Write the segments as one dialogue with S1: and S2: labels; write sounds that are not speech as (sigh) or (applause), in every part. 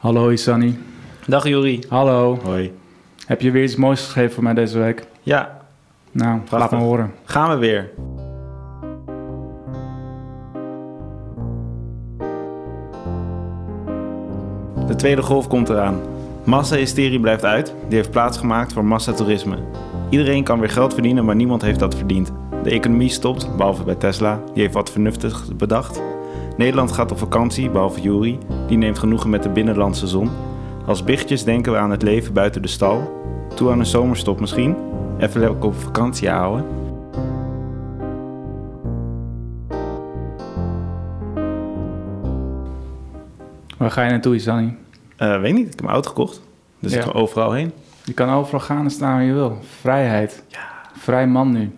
S1: Hallo Isani.
S2: Dag Juri.
S1: Hallo.
S2: Hoi.
S1: Heb je weer iets moois geschreven voor mij deze week?
S2: Ja,
S1: Nou, laat
S2: Prachtig.
S1: me horen.
S2: gaan we weer. De tweede golf komt eraan. Massahysterie blijft uit. Die heeft plaatsgemaakt voor massatoerisme. Iedereen kan weer geld verdienen, maar niemand heeft dat verdiend. De economie stopt, behalve bij Tesla. Die heeft wat vernuftigs bedacht. Nederland gaat op vakantie, behalve Juri. Die neemt genoegen met de binnenlandse zon. Als bichtjes denken we aan het leven buiten de stal. Toe aan een zomerstop misschien. Even lekker op vakantie houden.
S1: Waar ga je naartoe, Isani?
S2: Eh, weet niet, ik heb mijn auto gekocht. Dus
S1: Ja.
S2: ik ga overal heen.
S1: Je kan overal gaan en staan waar je wil. Vrijheid. Vrij man nu.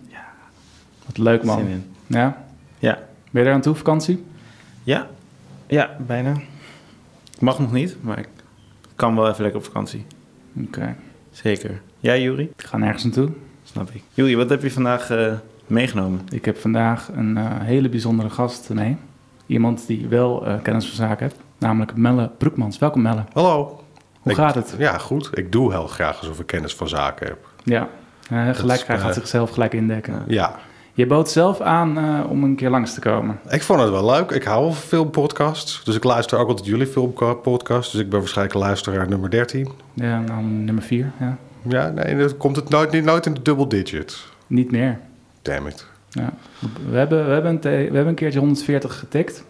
S1: Wat leuk man.
S2: Zin in.
S1: Ja?
S2: Ja.
S1: Ben je daar aan toe, vakantie?
S2: Ja. Ja, bijna. Ik mag nog niet, maar ik kan wel even lekker op vakantie.
S1: Oké.
S2: Zeker. Jij, Juri?
S1: Ik ga nergens naartoe.
S2: Snap ik. Juri, wat heb je vandaag eh, meegenomen?
S1: Ik heb vandaag een eh, hele bijzondere gast mee. Iemand die wel eh, kennis van zaken heeft. Namelijk Melle Broekmans. Welkom Melle.
S3: Hallo.
S1: Hoe
S3: Ik-
S1: gaat het?
S3: Ja, goed. Ik doe heel graag alsof ik kennis van zaken heb.
S1: Ja. Eh, gelijk,
S3: is,
S1: hij gaat
S3: eh,
S1: zichzelf gelijk indekken.
S3: Ja,
S1: Je bood zelf aan eh, om een keer langs te komen.
S3: ik vond het wel leuk. Ik hou van filmpodcasts. Dus ik luister ook altijd jullie filmpodcasts. Dus ik ben waarschijnlijk luisteraar nummer 13.
S1: Ja, dan nummer vier. Ja.
S3: Ja, nee, dan komt het nooit, niet, nooit in de double digit.
S1: Niet meer.
S3: Damn it.
S1: Ja. We, hebben, we, hebben een te- we hebben een keertje 140 getikt.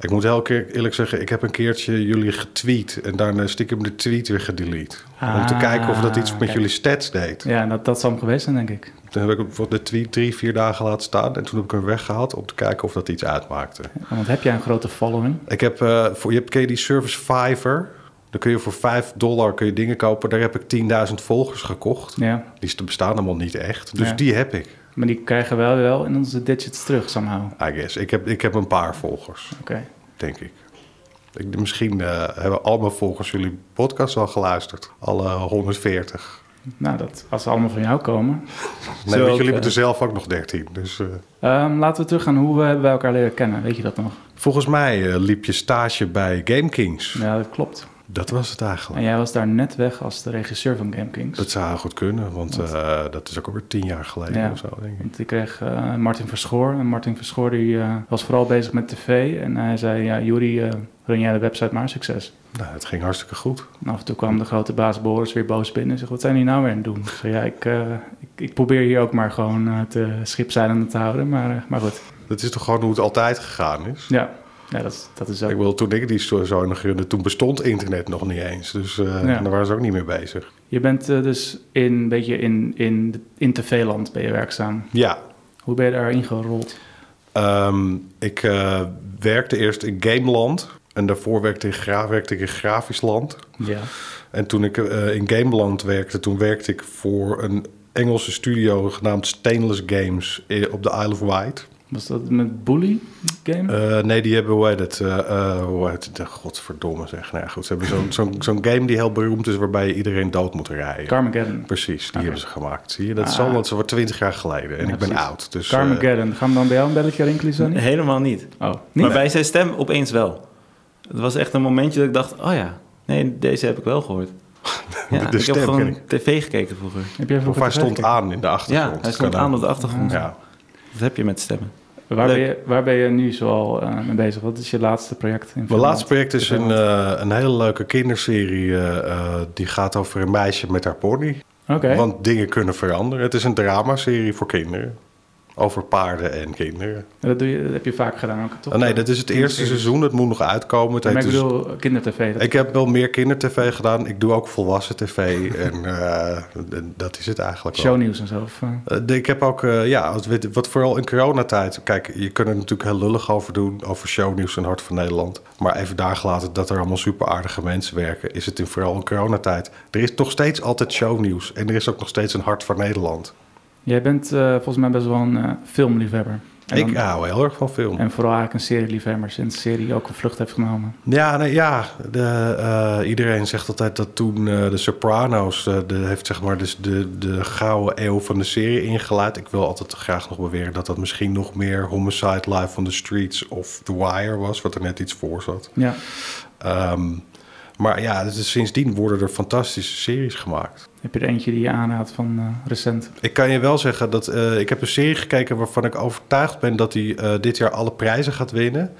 S3: Ik moet elke keer eerlijk zeggen, ik heb een keertje jullie getweet en daarna stiekem de tweet weer gedelete. om te
S1: Ah,
S3: kijken of dat iets met
S1: kijk.
S3: jullie stats deed.
S1: Ja, en dat, dat zal hem geweest zijn, denk ik.
S3: Toen heb ik hem voor de tweet drie, vier dagen laten staan en toen heb ik hem weggehaald om te kijken of dat iets uitmaakte.
S1: Want heb jij een grote following?
S3: Ik heb, eh, voor, je hebt, ken je die service Fiverr? Dan kun je voor 5 dollar kun je dingen kopen. Daar heb ik 10.000 volgers gekocht.
S1: Ja.
S3: Die st- bestaan allemaal niet echt. Dus
S1: Ja.
S3: die heb ik,
S1: Maar die krijgen wel wel in onze digits terug, somehow.
S3: I guess. Ik heb, ik heb een paar volgers,
S1: Oké.
S3: denk ik. ik misschien eh, hebben al mijn volgers jullie podcast al geluisterd. Alle 140.
S1: Nou, dat, als ze allemaal van jou komen.
S3: Nee,
S2: ook,
S3: want jullie
S2: eh,
S3: hebben er zelf ook nog 13. Dus, eh,
S1: Ehm, laten we teruggaan hoe we hebben wij elkaar leren kennen. Weet je dat nog?
S3: volgens mij eh, liep je stage bij GameKings.
S1: Ja, Ah, dat klopt.
S3: Dat was het eigenlijk.
S1: En jij was daar net weg als de regisseur van Game Kings.
S3: Dat zou goed kunnen, want eh, dat is ook alweer 10 jaar geleden
S1: Ja.
S3: of zo, denk ik.
S1: Want ik kreeg eh, Martin Verschoor. En Martin Verschoor die, eh, was vooral bezig met tv. En hij zei, ja, Juri, eh, run jij de website maar, succes.
S3: Nou, het ging hartstikke goed.
S1: En af en toe kwam de grote baas Boris weer boos binnen en zegt, wat zijn die nou weer aan het doen? Ik zei, ja, ik, eh, ik, ik probeer hier ook maar gewoon eh, het eh, schip zeilende te houden, maar, eh, maar goed.
S3: Dat is toch gewoon hoe het altijd gegaan is?
S1: Ja, ja dat, is- dat is
S3: Ik
S1: ook...
S3: wil toen ik die zo zo nog runde, toen bestond internet nog niet eens. Dus eh,
S1: Ja.
S3: daar waren ze ook niet mee bezig.
S1: Je bent eh, dus in, een beetje in, in, de- in tv-land ben je werkzaam.
S3: Ja,
S1: Hoe ben je daarin gerold?
S3: ehm, ik eh, werkte eerst in Gameland. En daarvoor werkte, ik in gra- werkte ik in Grafisch Land.
S1: Ja.
S3: En toen ik eh, in Gameland werkte, toen werkte ik voor een Engelse studio genaamd Stainless Games eh, op de Isle of Wight.
S1: Was dat met Bully game?
S3: Eh, nee, die hebben, hoe heet het, eh, eh, hoe heet het, eh, godverdomme zeg. Nou ja, goed, ze hebben zo'n zo'n- zo'n game die heel beroemd is waarbij je iedereen dood moet rijden.
S1: Carmageddon.
S3: Precies, die
S1: Oké.
S3: hebben ze gemaakt. Zie je, dat is
S1: Ah.
S3: al wat ze voor twintig jaar geleden. En
S1: Ja,
S3: ik ben
S1: precies.
S3: oud. Dus, eh,
S1: Carmageddon. Gaan we dan bij jou een belletje rinkelen, Sonny?
S2: Helemaal niet.
S1: Oh,
S2: Maar
S1: niet?
S2: bij zijn stem opeens wel. Het was echt een momentje dat ik dacht, oh ja, nee, deze heb ik wel
S3: (laughs)
S2: gehoord. Ja,
S3: de
S2: ik
S3: stem
S2: heb
S3: ken
S2: gewoon
S3: ik.
S2: tv gekeken vroeger.
S1: Heb je even
S3: of hij
S1: voor
S3: stond aan in de achtergrond.
S2: Ja, hij
S3: Dat
S2: stond
S3: kan
S2: aan
S3: ook.
S2: op de achtergrond.
S3: Ja.
S2: Dat heb je met stemmen.
S3: Ah,
S1: Waar ben,
S2: Leuk.
S1: je, waar ben je nu zoal eh, mee bezig? Wat is je laatste project? In
S3: Mijn
S1: Finland?
S3: laatste project is een, eh, een hele leuke kinderserie. eh, eh, die gaat over een meisje met haar pony.
S1: Oké,
S3: Want dingen kunnen veranderen. Het is een dramaserie voor kinderen. Over paarden en kinderen.
S1: dat, doe je, dat heb je vaak gedaan ook, toch?
S3: Ah, nee, dat is het eerste seizoen. Het moet nog uitkomen. Het
S1: Maar
S3: heet
S1: ik
S3: dus-
S1: bedoel, kindertv. dat-
S3: ik heb wel meer kindertv gedaan. Ik doe ook volwassen tv. (laughs) en eh, dat is het eigenlijk wel.
S1: shownieuws en zo. of, eh,
S3: Eh, de- Ik heb ook, eh, ja, wat, weet- wat vooral in coronatijd. Kijk, je kunt er natuurlijk heel lullig over doen, over shownieuws en Hart van Nederland. Maar even daar gelaten dat er allemaal super aardige mensen werken, is het in vooral in coronatijd. Er is nog steeds altijd shownieuws en er is ook nog steeds een Hart van Nederland.
S1: Jij bent eh, volgens mij best wel een eh, filmliefhebber. En,
S3: ik
S1: dan-
S3: hou heel erg van film.
S1: en vooral eigenlijk een serieliefhebber, sinds de serie ook een vlucht heeft genomen.
S3: Ja, nee, ja de, eh, iedereen zegt altijd dat toen eh, de Soprano's, eh, de, heeft zeg maar de, de, de gouden eeuw van de serie ingeleid. Ik wil altijd graag nog beweren dat dat misschien nog meer Homicide Live on the Streets of The Wire was, wat er net iets voor zat.
S1: Ja,
S3: Ehm, Maar ja, dus sindsdien worden er fantastische series gemaakt.
S1: Heb je er eentje die je aanraadt van eh, recent?
S3: Ik kan je wel zeggen dat eh, ik heb een serie gekeken waarvan ik overtuigd ben dat hij eh, dit jaar alle prijzen gaat winnen.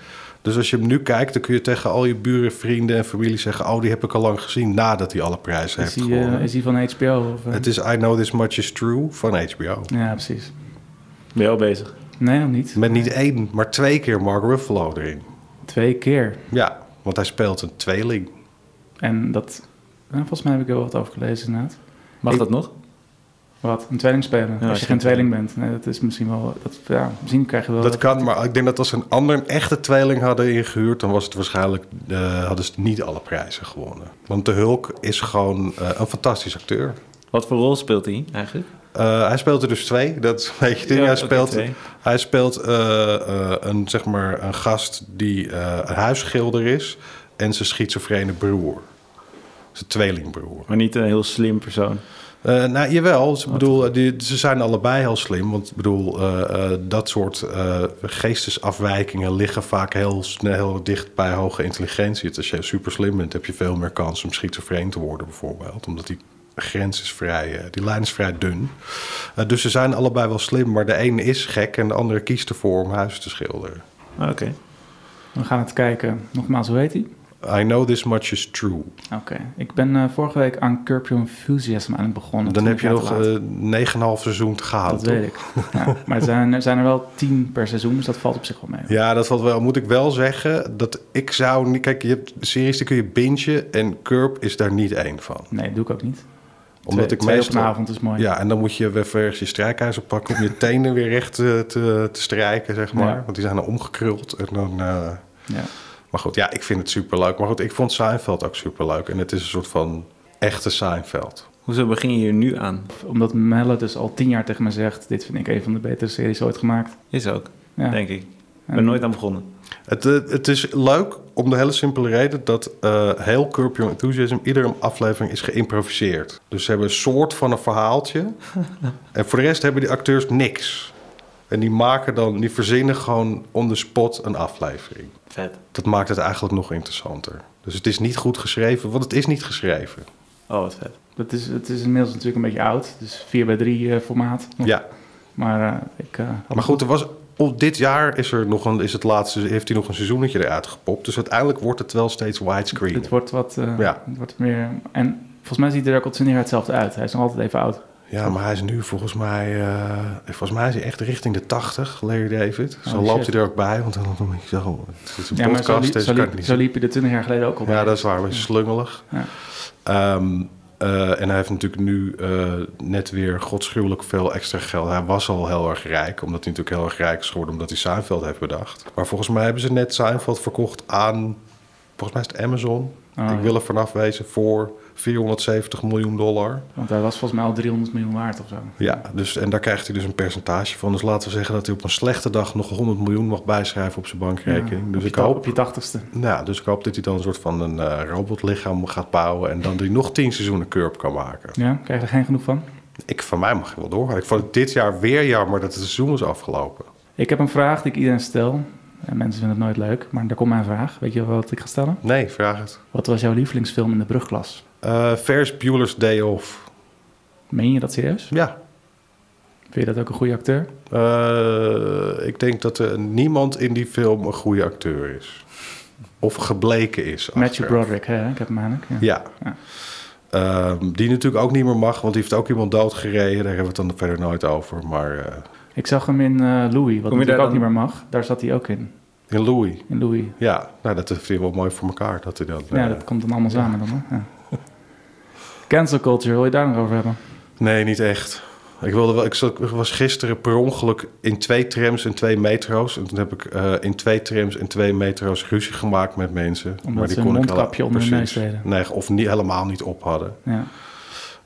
S3: Dus als je hem nu kijkt, dan kun je tegen al je buren, vrienden en familie zeggen: Oh, die heb ik al lang gezien nadat hij alle prijzen
S1: Is
S3: heeft
S1: die, eh,
S3: gewonnen.
S1: is die van HBO? Of, eh?
S3: Het is I Know This Much Is True van HBO.
S1: Ja, precies.
S2: Ben je al bezig?
S1: Nee, nog niet.
S3: Met niet één, maar twee keer Mark Ruffalo erin.
S1: Twee keer.
S3: Ja, want hij speelt een tweeling.
S1: En dat... nou, volgens mij heb ik er wel wat over gelezen inderdaad.
S2: Mag
S1: Ik-
S2: dat nog?
S1: Wat? Een tweeling spelen?
S2: Ja,
S1: als
S2: als
S1: je
S2: je
S1: geen tweeling bent. Nee, dat is misschien wel... Dat, ja, misschien krijg je wel...
S3: Dat kan, maar ik denk dat als ze een ander een echte tweeling hadden ingehuurd, dan was het waarschijnlijk eh, hadden ze niet alle prijzen gewonnen. Want de Hulk is gewoon eh, een fantastisch acteur.
S2: Wat voor rol speelt hij eigenlijk?
S3: Eh, hij speelt er dus twee. Dat is een beetje het ding.
S2: Ja,
S3: hij
S2: oké,
S3: speelt,
S2: twee.
S3: hij speelt eh, eh, een, zeg maar, een gast die eh, een huisschilder is en zijn schizofrene broer. Zijn tweelingbroer.
S2: Maar niet een heel slim persoon.
S3: Eh, nou, jawel. Ze, bedoel, eh, die- ze zijn allebei heel slim. Want ik bedoel, eh, eh, dat soort eh, geestesafwijkingen liggen vaak heel snel heel dicht bij hoge intelligentie. Dus als je super slim bent, heb je veel meer kans om schizofreen te worden, bijvoorbeeld. Omdat die grens is vrij, eh, die lijn is vrij dun. Eh, dus ze zijn allebei wel slim, maar de een is gek en de andere kiest ervoor om huis te schilderen.
S2: Ah, Oké.
S1: We gaan het kijken. Nogmaals, hoe heet die?
S3: I know this much is true.
S1: Oké. Ik ben eh, vorige week aan Curb Your Enthusiasm aan het begonnen.
S3: Dan
S1: Toen
S3: heb je
S1: ik aan
S3: nog
S1: het laten-
S3: eh, 9,5 seizoen te gaan.
S1: Dat
S3: toch?
S1: weet ik.
S3: (laughs)
S1: Ja, maar er zijn, er zijn er wel tien per seizoen, dus dat valt op zich wel mee.
S3: Ja, dat valt wel. Moet ik wel zeggen dat ik zou niet... Kijk, je hebt series die kun je bingen en Curb is daar niet één van.
S1: Nee, doe ik ook niet.
S3: Omdat
S1: Twee-
S3: ik
S1: twee op een
S3: meestal...
S1: avond is mooi.
S3: Ja, en dan moet je weer ergens je strijkijzer pakken om je tenen weer recht te, te, te strijken, zeg maar.
S1: Ja.
S3: Want die zijn dan omgekruld en dan... eh,
S1: Ja.
S3: Maar goed, ja, ik vind het superleuk. Maar goed, ik vond Seinfeld ook superleuk. En het is een soort van echte Seinfeld.
S2: Hoezo begin je hier nu aan?
S1: Omdat Melle dus al tien jaar tegen me zegt... dit vind ik een van de betere series ooit gemaakt.
S2: Is ook,
S1: Ja.
S2: denk ik. Ik
S1: En-
S2: ben nooit aan begonnen.
S3: Het, eh, het is leuk om de hele simpele reden dat eh, heel Curb Your Enthusiasm, iedere aflevering is geïmproviseerd. Dus ze hebben een soort van een verhaaltje. en voor de rest hebben die acteurs niks. En die maken dan, die verzinnen gewoon on the spot een aflevering.
S2: Vet.
S3: Dat maakt het eigenlijk nog interessanter. Dus het is niet goed geschreven, want het is niet geschreven.
S2: Oh, wat vet.
S1: Dat is, het is inmiddels natuurlijk een beetje oud. Dus 4 bij 3 eh, formaat.
S3: Ja,
S1: Maar eh, ik... eh, had-
S3: maar goed, er was, op dit jaar is er nog een, is het laatste, heeft hij nog een seizoentje eruit gepopt. Dus uiteindelijk wordt het wel steeds widescreen.
S1: Het wordt wat... eh,
S3: Ja.
S1: Het wordt meer... En volgens mij ziet hij er ook al 20 jaar hetzelfde uit. Hij is nog altijd even oud.
S3: Ja, maar hij is nu volgens mij... eh, volgens mij is hij echt richting de 80, Larry David. Zo
S1: Oh,
S3: loopt
S1: shit.
S3: hij er ook bij, want dan moet je zo... Het is een
S1: Ja, maar zo,
S3: podcast,
S1: liep-
S3: dus
S1: zo,
S3: kan
S1: liep,
S3: ik niet
S1: zo liep hij er 20 jaar geleden ook al bij.
S3: Ja, dat is waar, een beetje slungelig.
S1: Ja.
S3: Ehm, eh, en hij heeft natuurlijk nu eh, net weer godschuwelijk veel extra geld. Hij was al heel erg rijk, omdat hij natuurlijk heel erg rijk is geworden... omdat hij Seinfeld heeft bedacht. Maar volgens mij hebben ze net Seinfeld verkocht aan... Volgens mij is het Amazon.
S1: Ah,
S3: ik
S1: ja.
S3: wil er vanaf wezen voor 470 miljoen dollar.
S1: Want hij was volgens mij al 300 miljoen waard of zo.
S3: Ja, dus, en daar krijgt hij dus een percentage van. Dus laten we zeggen dat hij op een slechte dag nog 100 miljoen mag bijschrijven op zijn bankrekening.
S1: Ja, op
S3: dus,
S1: je
S3: ik
S1: ta-
S3: hoop,
S1: Op je tachtigste.
S3: nou, dus ik hoop dat hij dan een soort van een eh, robotlichaam gaat bouwen. En dan die nog 10 seizoenen curb kan maken.
S1: Ja, krijg je er geen genoeg van?
S3: Ik, van mij mag je wel doorgaan. Ik vond het dit jaar weer jammer dat het seizoen is afgelopen.
S1: Ik heb een vraag die ik iedereen stel. En mensen vinden het nooit leuk, maar daar komt mijn vraag. Weet je wat ik ga stellen?
S3: Nee, vraag het.
S1: Wat was jouw lievelingsfilm in de brugklas?
S3: Eh Ferris Bueller's Day Off.
S1: Meen je dat serieus?
S3: Ja,
S1: Vind je dat ook een goede acteur?
S3: eh, ik denk dat er niemand in die film een goede acteur is. Of gebleken is.
S1: Matthew
S3: achteraf.
S1: Broderick, hè? Ik heb hem eigenlijk. Ja.
S3: Ja.
S1: Ja.
S3: Ehm, die natuurlijk ook niet meer mag, want die heeft ook iemand doodgereden. Daar hebben we het dan verder nooit over. Maar eh,
S1: Ik zag hem in eh, Louis, wat
S2: daar
S1: natuurlijk ook
S2: dan-
S1: niet meer mag. Daar zat hij ook in,
S3: in Louis,
S1: in Louis.
S3: ja, nou, dat vind ik wel mooi voor elkaar. Dat hij dan,
S1: Ja,
S3: eh,
S1: dat komt dan allemaal samen dan, hè? Ja. Cancel culture, wil je daar nog over hebben?
S3: Nee, niet echt. Ik, wilde wel, ik zat- ik was gisteren per ongeluk in twee trams en twee metro's. En toen heb ik eh, in twee trams en twee metro's ruzie gemaakt met mensen.
S1: Omdat ze een mondkapje onder hun
S3: precies.
S1: neus deden.
S3: Nee, of niet, helemaal niet op hadden.
S1: Ja.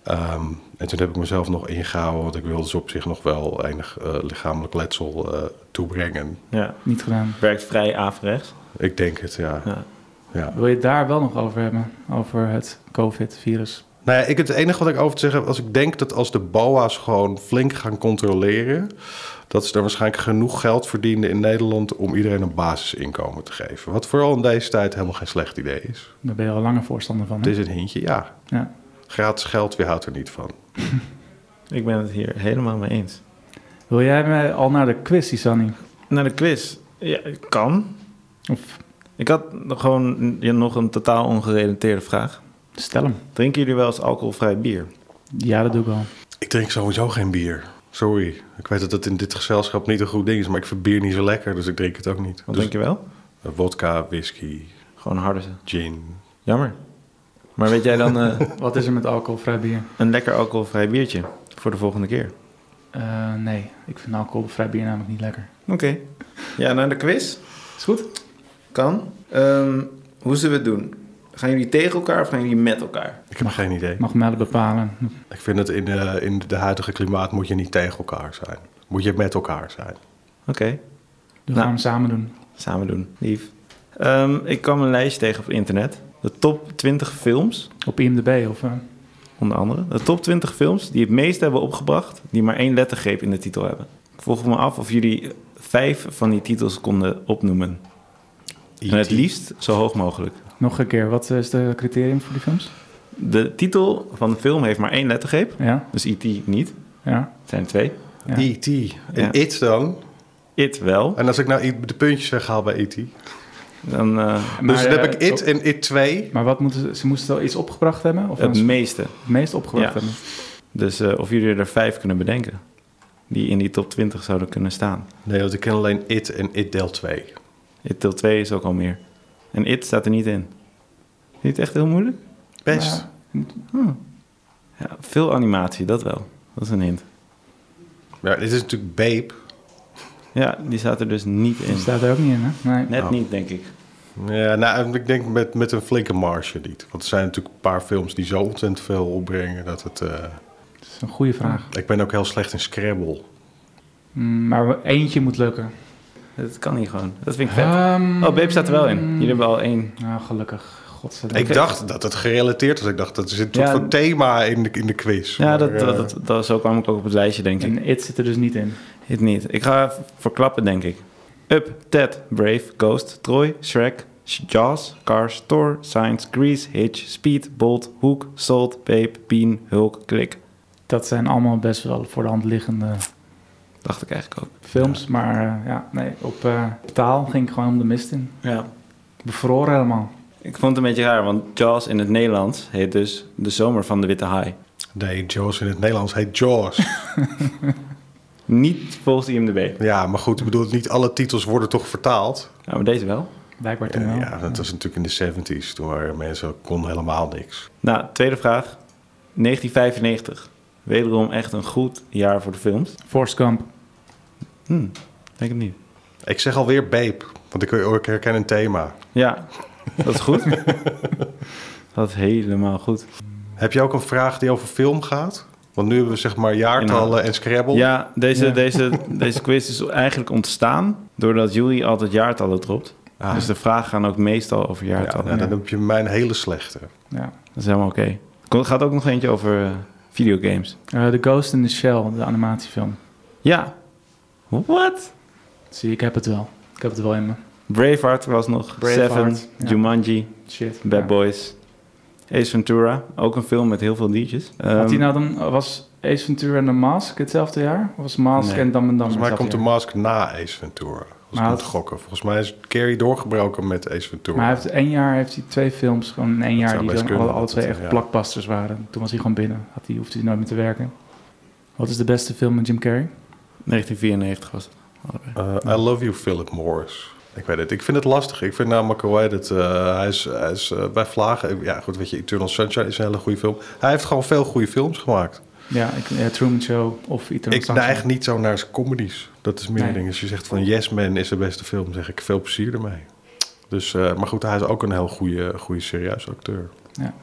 S3: Ehm, en toen heb ik mezelf nog ingehouden, want ik wilde ze op zich nog wel enig eh, lichamelijk letsel eh, toebrengen.
S2: Ja.
S1: Niet gedaan.
S2: Werkt vrij averechts.
S3: Ik denk het, ja.
S2: Ja.
S3: ja.
S1: Wil je het daar wel nog over hebben? Over het COVID-virus?
S3: Nou ja, ik, het enige wat ik over te zeggen heb, als ik denk dat als de BOA's gewoon flink gaan controleren, dat ze dan waarschijnlijk genoeg geld verdienen in Nederland om iedereen een basisinkomen te geven. Wat vooral in deze tijd helemaal geen slecht idee is.
S1: Daar ben je al lange voorstander van.
S3: Het
S1: Hè?
S3: is een hintje, ja.
S1: Hm. Ja.
S3: Gratis geld, wie houdt er niet van?
S2: Ik ben het hier helemaal mee eens.
S1: Wil jij me al naar de quiz, die Sunny?
S2: Naar de quiz. Ja, kan.
S1: Of
S2: Ik had nog gewoon ja, nog een totaal ongerelateerde vraag.
S1: stel hem.
S2: Drinken jullie wel eens alcoholvrij bier?
S1: Ja, dat doe ik al.
S3: Ik drink sowieso geen bier. Sorry. Ik weet dat dat in dit gezelschap niet een goed ding is, maar ik vind bier niet zo lekker, dus ik drink het ook niet.
S2: Wat
S3: dus
S2: denk je wel?
S3: eh, wodka, whisky,
S2: Gewoon harde.
S3: gin.
S2: Jammer. Maar weet jij dan eh, (laughs)
S1: Wat is er met alcoholvrij bier?
S2: een lekker alcoholvrij biertje voor de volgende keer?
S1: Eh, nee, ik vind alcoholvrij bier namelijk niet lekker.
S2: Oké. Ja, naar de quiz.
S1: Is goed?
S2: Kan. Ehm, hoe zullen we het doen? Gaan jullie tegen elkaar of gaan jullie met elkaar?
S3: Ik heb geen idee.
S1: Ik mag melden bepalen.
S3: Ik vind het in de, in de huidige klimaat moet je niet tegen elkaar zijn. Moet je met elkaar zijn.
S2: Oké.
S1: We
S2: Nou.
S1: gaan hem samen doen.
S2: Samen doen. Lief. Ehm, ik kwam een lijstje tegen op internet. De top 20 films,
S1: Op IMDb of... eh,
S2: onder andere. De top 20 films die het meest hebben opgebracht, die maar één lettergreep in de titel hebben. Ik vroeg me af of jullie vijf van die titels konden opnoemen. En het
S3: E.T.
S2: liefst zo hoog mogelijk.
S1: nog een keer, wat is de criterium voor die films?
S2: De titel van de film heeft maar één lettergreep.
S1: Ja,
S2: Dus E.T. niet.
S1: ja.
S2: Het zijn twee.
S1: Ja.
S3: E.T. En
S2: Ja.
S3: E It dan?
S2: It wel.
S3: En als ik nou i- de puntjes weghaal bij E.T.
S2: Dan eh,
S1: Maar,
S3: dus dan heb
S1: eh,
S3: ik It
S1: oh,
S3: en It 2.
S1: Maar wat moeten ze... Ze moesten wel iets opgebracht hebben? Of
S2: het
S1: het
S2: meeste.
S1: meest opgebracht
S2: Ja.
S1: hebben?
S2: Dus eh, of jullie er vijf kunnen bedenken. Die in die top 20 zouden kunnen staan.
S3: Nee, want ik ken alleen It en It deel 2.
S2: It deel 2 is ook al meer. En It staat er niet in. Niet echt heel moeilijk?
S3: Best.
S1: Maar-
S2: Ja, veel animatie, dat wel. Dat is een hint.
S3: Ja, dit is natuurlijk Babe.
S2: Ja, die staat er dus niet in.
S1: Die staat er ook niet in, hè? Nee.
S2: Net niet, denk ik.
S3: Ja, nou, ik denk met, met een flinke marge niet. Want er zijn natuurlijk een paar films die zo ontzettend veel opbrengen dat het... eh,
S1: Dat is een goede vraag.
S3: Ik ben ook heel slecht in Scrabble.
S1: Mm, maar eentje moet lukken.
S2: Dat kan niet gewoon. Dat vind ik vet.
S1: Ehm,
S2: Oh, Babe staat er wel in. Jullie hebben al één.
S1: Nou, gelukkig. Godzijdank.
S3: Ik dacht dat het gerelateerd was. Ik dacht dat er zit een soort
S2: Ja.
S3: van thema in de, in de quiz.
S2: Ja,
S3: Maar,
S2: dat,
S3: eh,
S2: dat, dat, dat- zo kwam ik ook op het lijstje, denk ik.
S1: En It zit er dus niet in.
S2: Het niet. Ik ga even verklappen, denk ik. Up, Ted, Brave, Ghost, Troy, Shrek, Sh- Jaws, Cars, Thor, Science, Grease, Hitch, Speed, Bolt, Hoek, Salt, Babe, Bean, Hulk, Klik.
S1: Dat zijn allemaal best wel voor de hand liggende
S2: Dacht ik eigenlijk ook.
S1: films. Maar eh, ja, nee, op eh, taal ging ik gewoon om de mist in.
S2: Ja.
S1: Bevroren helemaal.
S2: Ik vond het een beetje raar, want Jaws in het Nederlands heet dus De Zomer van de Witte Haai.
S3: Nee, Jaws in het Nederlands heet Jaws.
S2: Niet volgens IMDb.
S3: ja, maar goed, ik bedoel, niet alle titels worden toch vertaald?
S2: Nou, maar deze wel.
S1: Blijkbaar toen wel.
S3: Ja, dat was natuurlijk in de 70s. Toen waren mensen, kon helemaal niks.
S2: Nou, tweede vraag. 1995. Wederom echt een goed jaar voor de films.
S1: Forrest Gump.
S2: Hm, denk het niet.
S3: Ik zeg alweer Babe, want ik, ik herken een thema.
S2: Ja, dat is goed.
S1: (laughs)
S2: dat is helemaal goed.
S3: Heb je ook een vraag die over film gaat? Want nu hebben we zeg maar jaartallen en Scrabble.
S2: Ja, deze,
S1: Ja.
S2: Deze, deze quiz is eigenlijk ontstaan doordat jullie altijd jaartallen dropt.
S3: Ah.
S2: Dus de vragen gaan ook meestal over
S3: Ja,
S2: jaartallen.
S3: nou, dan heb je mijn hele slechte.
S1: Ja.
S2: Dat is helemaal oké. Er gaat ook nog eentje over eh, videogames.
S1: Eh, the Ghost in the Shell, de animatiefilm.
S2: Ja. Wat?
S1: Zie, ik heb het wel. Ik heb het wel in me.
S2: Braveheart was nog.
S1: Braveheart,
S2: Seven,
S1: ja.
S2: Jumanji,
S1: Shit.
S2: Bad
S1: Ja.
S2: Boys. Ace Ventura, ook een film met heel veel liedjes.
S1: Had die
S2: Ehm,
S1: nou dan, was Ace Ventura en The Mask hetzelfde jaar? Of was Mask
S2: Nee.
S1: en Dam en Dam?
S3: Volgens mij
S1: hetzelfde
S3: komt de
S1: jaar?
S3: mask na Ace Ventura. Als
S1: Maar
S3: ik moet
S1: dat-
S3: gokken. Volgens mij is Carrie doorgebroken met Ace Ventura.
S1: Maar hij heeft één jaar heeft hij twee films, gewoon in één jaar,
S3: zou
S1: die
S3: best
S1: dan
S3: kunnen,
S1: alle, alle
S3: dat
S1: twee
S3: het,
S1: echt
S3: ja.
S1: blockbusters waren. Toen was hij gewoon binnen. Had hij, hoefde hij nooit meer te werken. Wat is de beste film met Jim Carrey?
S2: 1994 was het. Allebei.
S3: Eh, I love you, Philip Morris. Ik weet het. Ik vind het lastig. Ik vind namelijk hoe heet het. eh, hij is, hij is eh, bij Vlagen. Ja, goed, weet je, Eternal Sunshine is een hele goede film. Hij heeft gewoon veel goede films gemaakt.
S1: Ja, ik, ja, Truman Show of Eternal
S3: ik
S1: Sunshine.
S3: neig niet zo naar zijn comedies. Dat is meer
S1: Nee.
S3: een ding. Als je zegt van Yes Man is de beste film, zeg ik veel plezier ermee. Dus, eh, maar goed, hij is ook een heel goede, goede serieus acteur.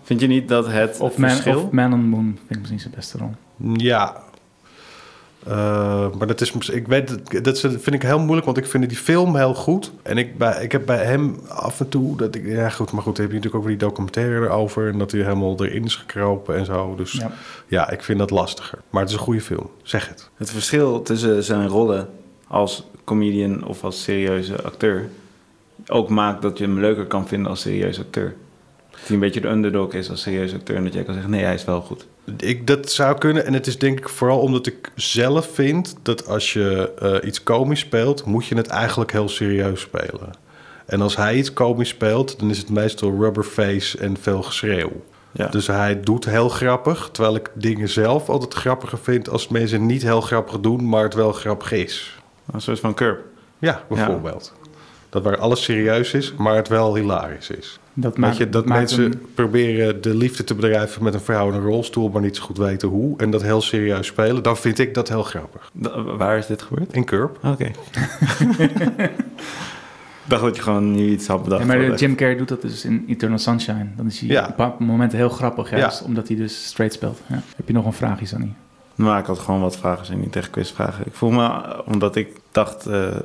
S2: Vind je niet dat het
S1: Of man,
S2: verschil...
S1: of man on the Moon vind ik misschien zijn beste rol.
S3: Ja. Eh, maar dat is, ik weet, dat- dat is- dat vind ik heel moeilijk, want ik vind die film heel goed. En ik, bij, ik heb bij hem af en toe dat ik, ja goed, maar goed, dan heb je natuurlijk ook weer die documentaire erover en dat hij helemaal erin is gekropen en zo. Dus ja.
S1: Ja.
S3: ik vind dat lastiger. Maar het is een goede film, zeg het.
S2: Het verschil tussen zijn rollen als comedian of als serieuze acteur ook maakt dat je hem leuker kan vinden als serieus acteur. Dat hij een beetje de underdog is als serieus acteur en dat jij kan zeggen: nee, hij is wel goed.
S3: Ik, dat zou kunnen en het is denk ik vooral omdat ik zelf vind dat als je eh, iets komisch speelt, moet je het eigenlijk heel serieus spelen. En als hij iets komisch speelt, dan is het meestal rubberface en veel geschreeuw.
S2: Ja.
S3: Dus hij doet heel grappig, terwijl ik dingen zelf altijd grappiger vind als mensen niet heel grappig doen, maar het wel grappig is.
S2: Een soort van curb.
S3: Ja, bijvoorbeeld. Dat waar alles serieus is, maar het wel hilarisch is.
S1: Dat
S3: Weet
S1: maakt,
S3: je, dat
S1: maakt
S3: mensen
S1: hem-
S3: proberen de liefde te bedrijven met een vrouw in een rolstoel, maar niet zo goed weten hoe. En dat heel serieus spelen, dan vind ik dat heel grappig.
S2: Da- waar is dit gebeurd?
S3: In Curb.
S2: Oké. (laughs) Ik dacht dat je gewoon nu iets had bedacht.
S1: Ja, maar de
S2: Wat
S1: Jim Carrey doet dat dus in Eternal Sunshine. Dan is hij
S3: Ja.
S1: op een bepaald moment heel grappig,
S3: Ja.
S1: juist omdat hij dus straight speelt. Ja. Heb je nog een vraagje, Sunny?
S2: Maar ik had gewoon wat vragen zijn, niet echt quizvragen. Ik vroeg me, eh, omdat ik dacht eh,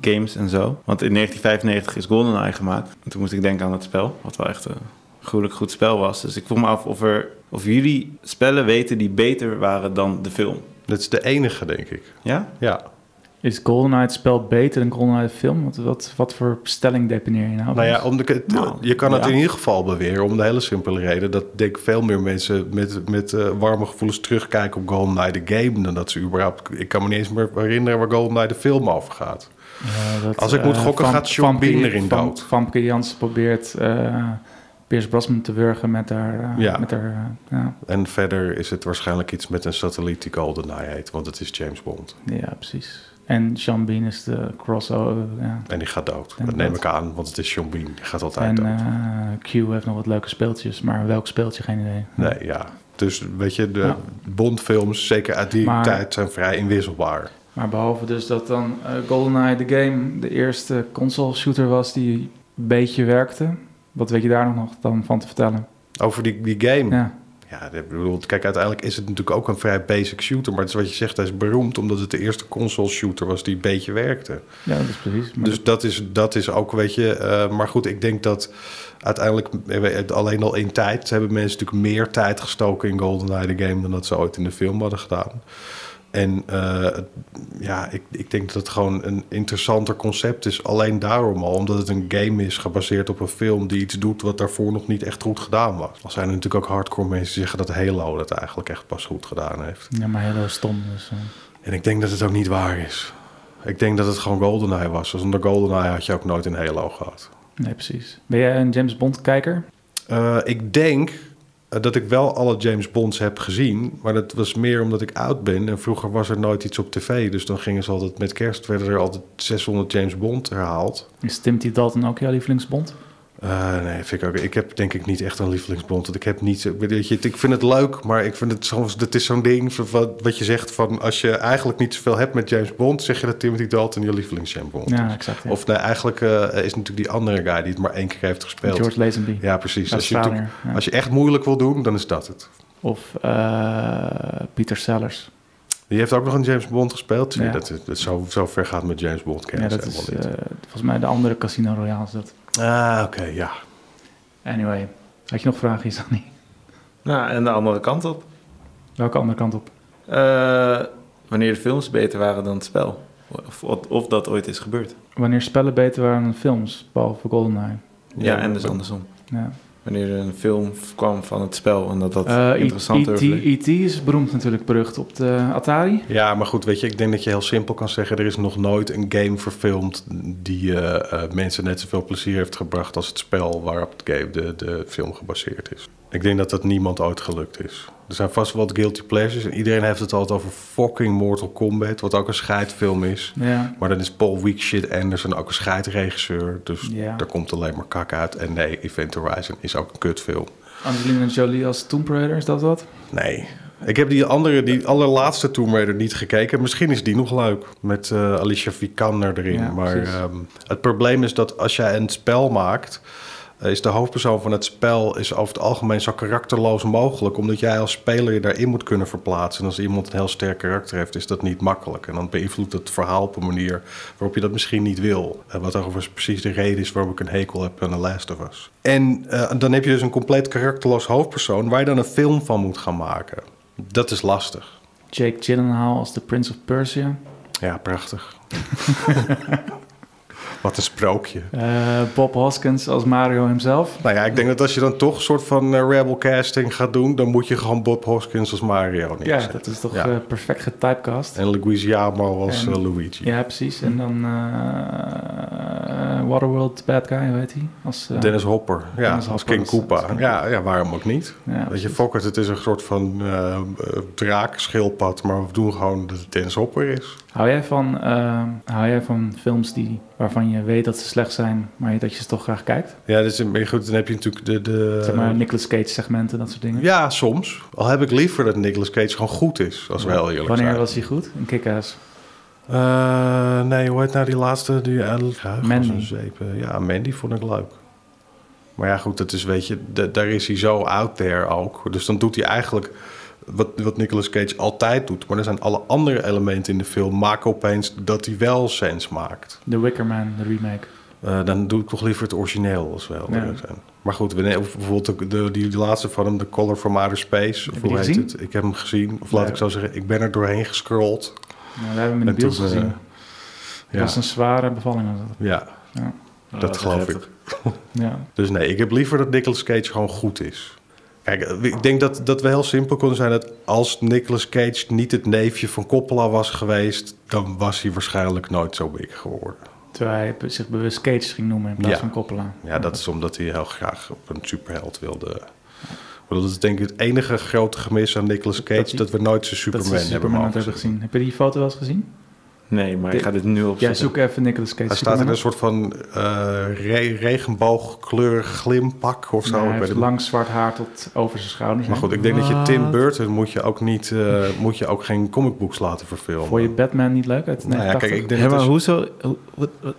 S2: games en zo. Want in 1995 is GoldenEye gemaakt. En toen moest ik denken aan het spel, wat wel echt een gruwelijk goed spel was. Dus ik vroeg me af of, er, of jullie spellen weten die beter waren dan de film.
S3: Dat is de enige, denk ik.
S2: Ja?
S3: Ja.
S1: Is GoldenEye het spel beter dan GoldenEye de film? Wat, wat, wat voor stelling deponeer je nou?
S3: Nou ja, om de, het-
S2: Nou,
S3: je kan het
S2: ja.
S3: in ieder geval beweren, om de hele simpele reden dat denk ik veel meer mensen met, met eh, warme gevoelens terugkijken op GoldenEye de game dan dat ze überhaupt. Ik kan me niet eens meer herinneren waar GoldenEye de film over gaat.
S1: Eh, dat,
S3: Als ik moet
S1: eh,
S3: gokken,
S1: Vamp-
S3: gaat Sean
S1: Vampke-
S3: Bean erin
S1: Vamp-
S3: dood.
S1: Vampke Jansen probeert eh Piers Brosnan te wurgen met haar... eh,
S3: Ja.
S1: Met haar eh, ja.
S3: En verder is het waarschijnlijk iets met een satelliet die GoldenEye heet, want het is James Bond.
S1: ja, precies. En Sean Bean is de crossover. ja.
S3: En die gaat dood.
S1: En
S3: dat neem
S1: dat.
S3: ik aan, want het is Sean Bean. Die gaat altijd
S1: En
S3: dood.
S1: eh, Q heeft nog wat leuke speeltjes, maar welk speeltje, geen idee.
S3: nee, ja. Dus weet je, de
S1: Ja.
S3: Bondfilms, zeker uit die
S1: Maar-
S3: tijd, zijn vrij inwisselbaar.
S1: Maar behalve dus dat dan eh, GoldenEye de game de eerste console shooter was die een beetje werkte. Wat weet je daar nog dan van te vertellen?
S3: Over die, die game. Ja,
S1: Ja,
S3: ik bedoel, kijk, uiteindelijk is het natuurlijk ook een vrij basic shooter. Maar het is wat je zegt, hij is beroemd omdat het de eerste console shooter was die een beetje werkte.
S1: ja dat is precies. Maar
S3: Dus dat is, dat is ook, weet je. eh, maar goed, ik denk dat uiteindelijk, eh, alleen al in tijd, hebben mensen natuurlijk meer tijd gestoken in GoldenEye de game dan dat ze ooit in de film hadden gedaan. En eh, het- ja, ik, ik denk dat het gewoon een interessanter concept is. Alleen daarom al, omdat het een game is gebaseerd op een film die iets doet wat daarvoor nog niet echt goed gedaan was. Al zijn er natuurlijk ook hardcore mensen die zeggen dat Halo dat eigenlijk echt pas goed gedaan heeft.
S1: ja, maar heel stom. Dus, eh.
S3: En ik denk dat het ook niet waar is. Ik denk dat het gewoon GoldenEye was. Zonder GoldenEye had je ook nooit een Halo gehad.
S1: nee, precies. Ben jij een James Bond kijker?
S3: Eh, ik denk eh, dat ik wel alle James Bonds heb gezien. Maar dat was meer omdat ik oud ben. En vroeger was er nooit iets op tv. Dus dan gingen ze altijd met kerst. werden er altijd 600 James Bond herhaald.
S1: Is Timothy Dalton ook jouw lievelingsbond?
S3: Eh, nee, vind ik ook. Ik heb denk ik niet echt een lievelingsbond. Want ik heb niet. zo- Weet je, ik vind het leuk, maar ik vind het soms. Dat is zo'n ding. van Wat, wat je zegt van. Als je eigenlijk niet zoveel hebt met James Bond. zeg je dat Timothy Dalton je lievelingsjames Bond
S1: Ja,
S3: is.
S1: exact. ja.
S3: Of nee, eigenlijk eh, is natuurlijk die andere guy die het maar één keer heeft gespeeld.
S1: George Lazenby.
S3: Ja, precies.
S1: Dat
S3: Als
S1: is
S3: je, natuurlijk-
S1: vader, ja.
S3: als je echt moeilijk wil doen, dan is dat het.
S1: Of eh, Peter Sellers.
S3: Die heeft ook nog een James Bond gespeeld. Zie je,
S1: Ja.
S3: Dat, is- dat zo, zo ver gaat met James Bond
S1: Ja,
S3: kennis
S1: dat is
S3: helemaal niet.
S1: eh, volgens mij de andere Casino Royale is dat.
S3: ah, oké, ja.
S1: Anyway, had je nog vragen, Sunny?
S2: Nou, en de andere kant op.
S1: Welke andere kant op?
S2: Eh, wanneer de films beter waren dan het spel. Of, of, of dat ooit is gebeurd.
S1: Wanneer spellen beter waren dan films, behalve GoldenEye?
S2: Ja, en dus andersom.
S1: Ja.
S2: Wanneer er een film kwam van het spel en dat dat
S1: Eh,
S2: interessanter
S1: E.T.
S2: bleek.
S1: E.T. is beroemd natuurlijk berucht op de Atari.
S3: Ja, maar goed, weet je, ik denk dat je heel simpel kan zeggen... er is nog nooit een game verfilmd die eh, eh, mensen net zoveel plezier heeft gebracht... als het spel waarop het game, de, de film gebaseerd is. Ik denk dat dat niemand ooit gelukt is. Er zijn vast wel wat guilty pleasures en iedereen heeft het altijd over fucking Mortal Kombat... wat ook een scheidfilm is.
S1: Ja.
S3: Maar dan is Paul Weekshit Anderson ook een scheidregisseur. Dus
S1: Ja.
S3: daar komt alleen maar kak uit. En nee, Event Horizon is ook een kutfilm.
S1: Angelina Jolie als Tomb Raider, is dat wat?
S3: Nee. Ik heb die andere, die allerlaatste Tomb Raider niet gekeken. Misschien is die nog leuk. Met eh, Alicia Vikander erin.
S1: Ja,
S3: maar
S1: precies.
S3: ehm, het probleem is dat als jij een spel maakt... is de hoofdpersoon van het spel is over het algemeen zo karakterloos mogelijk. Omdat jij als speler je daarin moet kunnen verplaatsen. En als iemand een heel sterk karakter heeft, is dat niet makkelijk. En dan beïnvloedt het verhaal op een manier waarop je dat misschien niet wil. En wat overigens precies de reden is waarom ik een hekel heb aan The Last of Us. En eh, dan heb je dus een compleet karakterloos hoofdpersoon waar je dan een film van moet gaan maken. Dat is lastig.
S1: Jake Gyllenhaal als de Prince of Persia.
S3: Ja, prachtig. (laughs) Wat een sprookje.
S1: Eh, Bob Hoskins als Mario hemzelf.
S3: Nou ja, ik denk dat als je dan toch een soort van eh, rebel casting gaat doen, dan moet je gewoon Bob Hoskins als Mario
S1: Ja,
S3: neerzetten.
S1: dat is toch
S3: Ja.
S1: eh, perfect getypecast.
S3: En Luigiano als
S1: En-
S3: eh, Luigi.
S1: Ja, precies. En dan eh, Waterworld Bad Guy, hoe heet hij? Als, eh,
S3: Dennis Hopper, ja,
S1: Dennis
S3: als
S1: Hopper
S3: King
S1: als- als
S3: Koopa.
S1: King
S3: Ja, ja, waarom ook niet?
S1: ja,
S3: Weet je, Fokker, het is een soort van eh eh, draak, schildpad, maar we doen gewoon dat het Dennis Hopper is.
S1: Hou jij van, eh, hou jij van films die, waarvan je weet dat ze slecht zijn, maar dat je ze toch graag kijkt?
S3: Ja, dus, maar goed, dan heb je natuurlijk de... de
S1: zeg maar Nicolas Cage segmenten, dat soort dingen.
S3: ja, soms. Al heb ik liever dat Nicolas Cage gewoon goed is, als we heel eerlijk
S1: Wanneer
S3: zijn.
S1: was hij goed? Een kick-ass.
S3: Eh, nee, hoe heet nou die laatste? Die
S1: Mandy.
S3: Mandy. Zeep. eh, Ja, Mandy vond ik leuk. Maar ja, goed, dat is, weet je, da- daar is hij zo out there ook. Dus dan doet hij eigenlijk wat, wat Nicolas Cage altijd doet. Maar er zijn alle andere elementen in de film maken opeens dat hij wel sens maakt.
S1: The Wicker Man, de remake.
S3: Eh, dan doe ik toch liever het origineel als wel.
S1: Ja.
S3: eerlijk zijn. Maar goed, we, of bijvoorbeeld ook de, die, die laatste van hem, The Color from Outer Space. Of
S1: Heb je
S3: hoe
S1: die
S3: heet
S1: gezien?
S3: het? Ik heb hem gezien. Of laat
S1: Ja.
S3: ik zo zeggen, ik ben er doorheen gescrolld.
S1: Nou, we hebben hem in de
S3: En
S1: bios
S3: toen, eh,
S1: gezien. Dat
S3: Ja,
S1: was een zware bevalling. was dat.
S3: ja.
S1: Ja.
S3: dat
S2: Ah,
S3: geloof ik.
S1: Ja.
S3: Dus nee, ik heb liever dat Nicolas Cage gewoon goed is. Kijk, eh, ik denk dat, dat we heel simpel konden zijn dat als Nicolas Cage niet het neefje van Coppola was geweest, dan was hij waarschijnlijk nooit zo big geworden.
S1: Terwijl hij be- zich bewust Cage ging noemen in plaats
S3: Ja.
S1: van Coppola.
S3: Ja, dat is omdat hij heel graag op een superheld wilde. Maar dat is denk ik het enige grote gemis aan Nicolas Cage, dat,
S1: Dat hij-
S3: we nooit
S1: Dat ze
S3: zijn Superman, hebben
S1: Superman
S3: mogen
S1: hebben
S3: zien.
S1: gezien. Heb je die foto wel eens gezien?
S2: Nee, maar ik ga dit nu
S1: Ja,
S2: opzoeken.
S1: zoek even Nicolas Cage.
S3: Hij staat in
S1: Superman
S3: een
S1: op.
S3: soort van eh, re- regenboogkleurig glimpak of
S1: Nee,
S3: zo. Ik
S1: Nou, hij
S3: weet
S1: heeft
S3: het
S1: lang zwart haar tot over zijn schouders.
S3: Maar
S1: heen.
S3: goed, ik denk dat
S2: Wat?
S3: je Tim Burton moet je ook niet, eh, moet je ook geen comicbooks laten verfilmen.
S1: Vond je Batman niet leuk uit
S3: eh, nou ja, kijk,
S1: 1980?
S3: ik denk
S2: Ja,
S3: dat
S2: maar
S3: is-
S2: hoezo... hoe- wat- wat-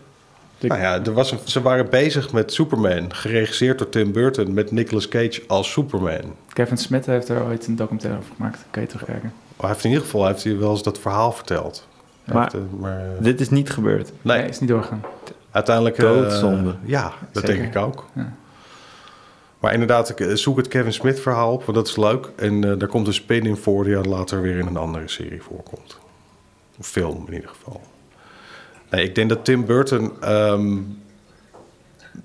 S3: nou ja, er was een- ze waren bezig met Superman, geregisseerd door Tim Burton met Nicolas Cage als Superman.
S1: Kevin Smith heeft er ooit een documentaire over gemaakt. Kan je terugkijken.
S3: Hij heeft in ieder geval hij heeft hier wel eens dat verhaal verteld. Hij
S2: Maar-
S3: heeft, eh, maar eh,
S2: Dit is niet gebeurd.
S1: Nee,
S3: nee,
S1: is niet doorgegaan.
S3: uiteindelijk. eh,
S2: Doodzonde.
S3: ja, dat
S1: Zeker.
S3: denk ik ook.
S1: Ja.
S3: Maar inderdaad, ik, eh, zoek het Kevin Smith verhaal op, want dat is leuk. En eh, daar komt een spin in voor die later weer in een andere serie voorkomt. Of film in ieder geval. Nee, ik denk dat Tim Burton, ehm,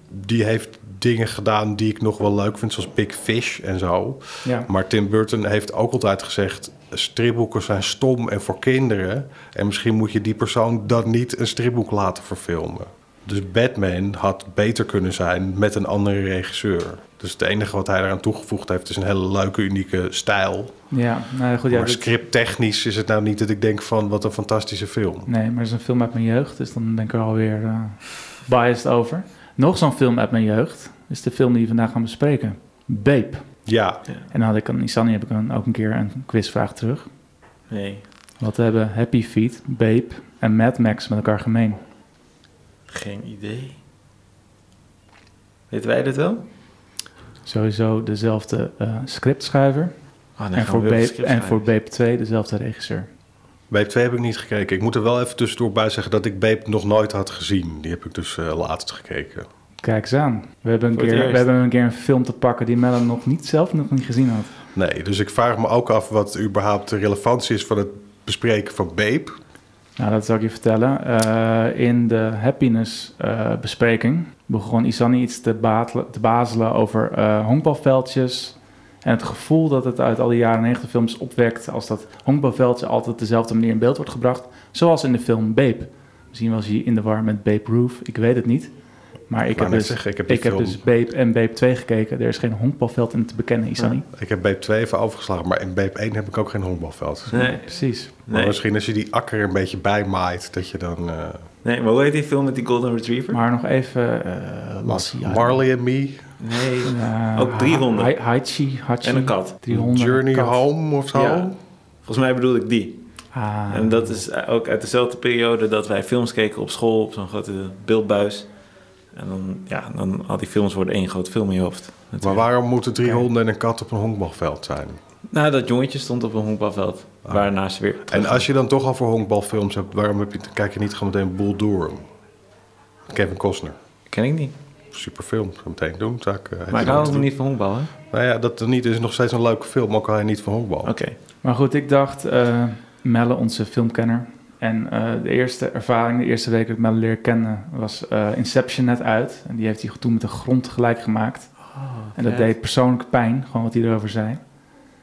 S3: die heeft dingen gedaan die ik nog wel leuk vind, zoals Big Fish en zo.
S1: Ja.
S3: Maar Tim Burton heeft ook altijd gezegd, stripboeken zijn stom en voor kinderen. En misschien moet je die persoon dan niet een stripboek laten verfilmen. Dus Batman had beter kunnen zijn met een andere regisseur. Dus het enige wat hij eraan toegevoegd heeft is een hele leuke, unieke stijl.
S1: Ja, nou ja, goed. Ja,
S3: maar
S1: dit-
S3: scripttechnisch is het nou niet dat ik denk van wat een fantastische film.
S1: Nee, maar het is een film uit mijn jeugd, dus dan ben ik er alweer eh, biased over. Nog zo'n film uit mijn jeugd is de film die we vandaag gaan bespreken. Babe.
S3: Ja,
S1: En dan had ik aan Isani heb ik een, ook een keer een quizvraag terug.
S2: Nee,
S1: Wat hebben Happy Feet, Babe en Mad Max met elkaar gemeen?
S2: geen idee. Weten wij dit wel?
S1: Sowieso dezelfde eh, scriptschrijver
S2: Oh,
S1: en, voor Babe, en voor Babe 2 dezelfde regisseur.
S3: Babe 2 heb ik niet gekeken. Ik moet er wel even tussendoor bij zeggen dat ik Babe nog nooit had gezien. Die heb ik dus eh, laatst gekeken.
S1: Kijk eens aan. We hebben, een
S2: Voor het
S1: keer, we
S2: eerst.
S1: hebben een keer een film te pakken die Mellon nog niet zelf nog niet gezien had.
S3: Nee, dus ik vraag me ook af wat überhaupt de relevantie is van het bespreken van Babe.
S1: Nou, dat zal ik je vertellen. Eh, in de happiness-bespreking begon Isani iets te, batelen- te bazelen over eh honkbalveldjes. En het gevoel dat het uit al die jaren 90 films opwekt. als dat honkbalveldje altijd op dezelfde manier in beeld wordt gebracht. Zoals in de film Babe. Misschien was hij in de war met Babe Roof, ik weet het niet. Maar ik
S3: wou
S1: heb,
S3: net
S1: dus,
S3: zeggen, ik heb die
S1: ik heb
S3: film-
S1: dus Babe en Babe 2 gekeken. Er is geen honkbalveld in te bekennen, Isani.
S3: Ik heb Babe 2 even overgeslagen, maar in Babe 1 heb ik ook geen honkbalveld. gezien.
S2: Nee,
S1: Precies.
S3: Maar
S2: nee.
S3: misschien als je die akker een beetje bijmaait, dat je dan... eh,
S2: nee, maar hoe heet die film met die Golden Retriever?
S1: Maar nog even. eh Lassie.
S3: Marley and Me,
S2: Nee.
S1: Eh,
S2: Ook drie honden.
S1: Ha- Haichi, Hachi.
S2: En een kat.
S1: Drie honden,
S3: Journey
S1: kat.
S3: Home of zo.
S2: Ja. Volgens mij bedoel ik die.
S1: Ah,
S2: En eh, dat is ook uit dezelfde periode dat wij films keken op school, op zo'n grote beeldbuis. En dan, ja, dan al die films worden één groot film in je hoofd.
S3: Maar
S2: natuurlijk.
S3: waarom moeten drie
S2: Oké.
S3: honden en een kat op een honkbalveld zijn?
S2: Nou, dat jongetje stond op een honkbalveld. Waarna ze weer...
S3: En als je dan toch al voor honkbalfilms hebt, waarom heb je, dan kijk je niet gewoon meteen Boel Durham? Kevin Costner.
S2: Ken ik niet.
S3: Super film, ga meteen doen. Zaak, eh,
S2: Maar ik hou nog niet van honkbal, hè?
S3: Nou ja, dat er niet is nog steeds een leuke film, ook al hij niet van honkbal.
S2: Oké.
S1: Maar goed, ik dacht, eh Melle, onze filmkenner. En eh, de eerste ervaring, de eerste week dat ik Melle leer kennen, was eh, Inception net uit. En die heeft hij toen met de grond gelijk gemaakt. En dat deed persoonlijk pijn, gewoon wat hij erover zei.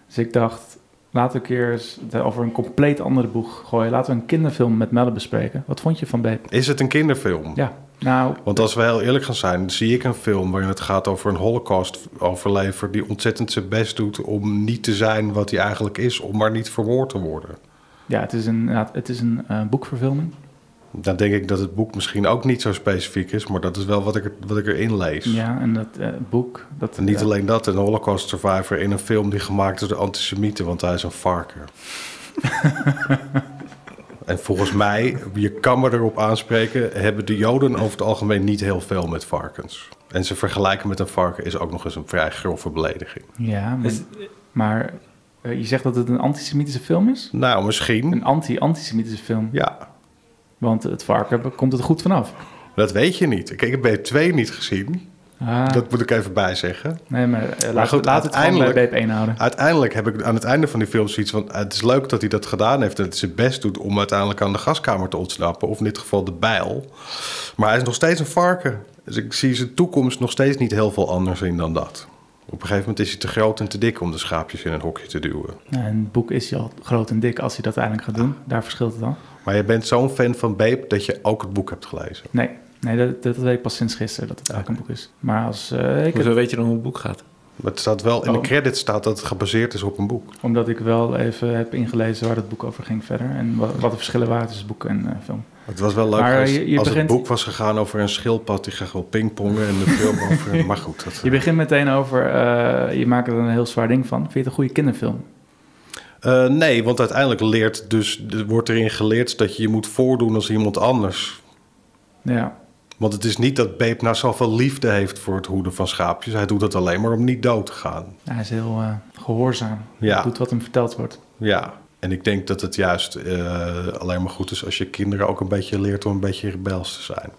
S1: Dus ik dacht, laten we een keer eens het over een compleet andere boeg gooien. Laten we een kinderfilm met Melle bespreken. Wat vond je van Babe?
S3: Is het een kinderfilm?
S1: Ja, nou,
S3: Want als we heel eerlijk gaan zijn, zie ik een film waarin het gaat over een holocaust-overlever die ontzettend zijn best doet om niet te zijn wat hij eigenlijk is, om maar niet vermoord te worden.
S1: ja, het is een, inderdaad, het is een eh, boekverfilming.
S3: Dan denk ik dat het boek misschien ook niet zo specifiek is, maar dat is wel wat ik, er- wat ik erin lees.
S1: Ja, en dat eh, boek... Dat,
S3: En niet
S1: ja.
S3: alleen dat, een holocaust-survivor in een film die gemaakt is door de antisemieten, want hij is een
S1: (laughs)
S3: varken. en volgens mij, je kan me erop aanspreken, hebben de Joden over het algemeen niet heel veel met varkens. En ze vergelijken met een varken is ook nog eens een vrij grove belediging.
S1: Ja, maar,
S3: Dus,
S2: Is-
S1: maar, eh, je zegt dat het een antisemitische film is?
S3: Nou, misschien.
S1: Een anti-antisemitische film.
S3: Ja,
S1: Want het varken komt er goed vanaf.
S3: dat weet je niet. Kijk, ik heb B2 niet gezien.
S1: Ah,
S3: Dat moet ik even bijzeggen.
S1: nee, maar, eh, laat,
S3: goed,
S1: laat het gewoon bij
S3: uiteindelijk-
S1: Babe 1 houden.
S3: Uiteindelijk heb ik aan het einde van die film zoiets van... het is leuk dat hij dat gedaan heeft en dat hij zijn best doet... om uiteindelijk aan de gaskamer te ontsnappen. Of in dit geval de bijl. Maar hij is nog steeds een varken. Dus ik zie zijn toekomst nog steeds niet heel veel anders in dan dat. Op een gegeven moment is hij te groot en te dik... om de schaapjes in een hokje te duwen.
S1: Nou, in het boek is hij al groot en dik als hij dat uiteindelijk gaat doen. Daar verschilt het dan.
S3: Maar je bent zo'n fan van Babe dat je ook het boek hebt gelezen.
S1: Nee, nee dat, dat weet ik pas sinds gisteren dat het eigenlijk een boek is. Maar als, eh, ik heb-
S2: Hoezo weet je dan hoe het boek gaat?
S3: Maar het staat wel, in de
S1: Oh.
S3: credits staat dat het gebaseerd is op een boek.
S1: omdat ik wel even heb ingelezen waar het boek over ging verder. En wa- wat, de verschillen waren tussen boek en eh, film.
S3: Het was wel leuk
S1: Maar
S3: geweest
S1: je- je
S3: als
S1: begint-
S3: het boek was gegaan over een schildpad... die graag wil pingpongen en de film
S1: (laughs)
S3: over... Maar goed, dat...
S1: Je begint meteen over, eh, je maakt er een heel zwaar ding van. Vind je het een goede kinderfilm?
S3: Eh, nee, want uiteindelijk leert dus, er wordt erin geleerd dat je je moet voordoen als iemand anders.
S1: Ja,
S3: Want het is niet dat Beep nou zoveel liefde heeft voor het hoeden van schaapjes. Hij doet dat alleen maar om niet dood te gaan.
S1: hij is heel eh, gehoorzaam.
S3: Ja.
S1: Doet wat hem verteld wordt.
S3: Ja, en ik denk dat het juist eh, alleen maar goed is als je kinderen ook een beetje leert om een beetje rebels te zijn.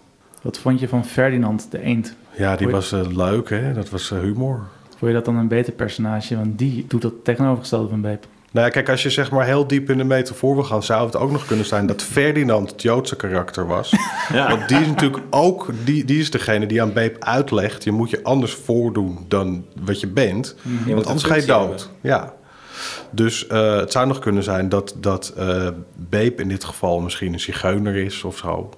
S1: Wat vond je van Ferdinand de Eend?
S3: Ja, die
S1: Hoi.
S3: was eh, leuk, hè? Dat was eh, humor.
S1: Vond je dat dan een beter personage? Want die doet dat tegenovergestelde van Beep.
S3: Nou ja, kijk, als je zeg maar heel diep in de metafoor wil gaan, zou het ook nog kunnen zijn dat Ferdinand het Joodse karakter was.
S2: Ja.
S3: Want die is natuurlijk ook, die, die is degene die aan Beep uitlegt, je moet je anders voordoen dan wat je bent, want
S2: moet
S3: anders
S2: een
S3: ga je
S2: functie
S3: dood. Ja. Dus eh, het zou nog kunnen zijn dat, dat eh, Beep in dit geval misschien een zigeuner is of zo.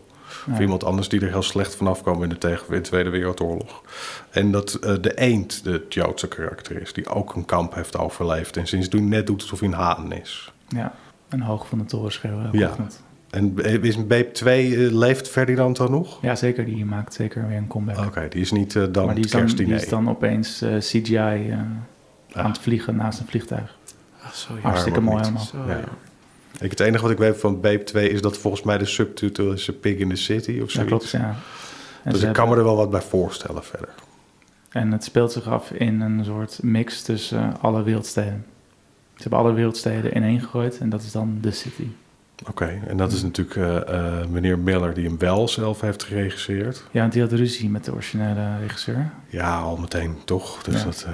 S3: Of iemand anders die er heel slecht vanaf kwam in de, tegen, in de Tweede Wereldoorlog. En dat eh, de eend de Joodse karakter is, die ook een kamp heeft overleefd. En sindsdien net doet alsof hij een haan is.
S1: Ja, een hoog van de toren schreeuwen.
S3: Ja.
S1: Ja.
S3: En is Beep 2, eh, leeft Ferdinand dan nog?
S1: ja, zeker. Die maakt zeker weer een comeback.
S3: Oké, die is niet eh, dan
S1: maar die is, dan,
S3: kerstdiner. Ah.
S1: die is dan opeens eh, CGI eh, aan het vliegen naast een vliegtuig.
S2: Ach, zo, ja.
S1: Hartstikke mooi
S3: niet.
S1: allemaal.
S2: Zo,
S3: Ja.
S2: ja.
S3: Ik, het enige wat ik weet van Babe 2 is dat volgens mij de subtitel is A Pig in the City of
S1: Dat
S3: zoiets.
S1: klopt, ja. En,
S3: dus
S1: ze
S3: ik kan me er wel wat bij voorstellen verder.
S1: hebben- en het speelt zich af in een soort mix tussen eh, alle wereldsteden. Ze hebben alle wereldsteden ineen gegooid en dat is dan The City.
S3: Oké, en dat is
S1: Mm.
S3: natuurlijk eh, eh, meneer Miller die hem wel zelf heeft geregisseerd.
S1: Ja, want die had ruzie met de originele regisseur.
S3: Ja, al meteen toch. Dus
S1: Ja.
S3: dat, eh,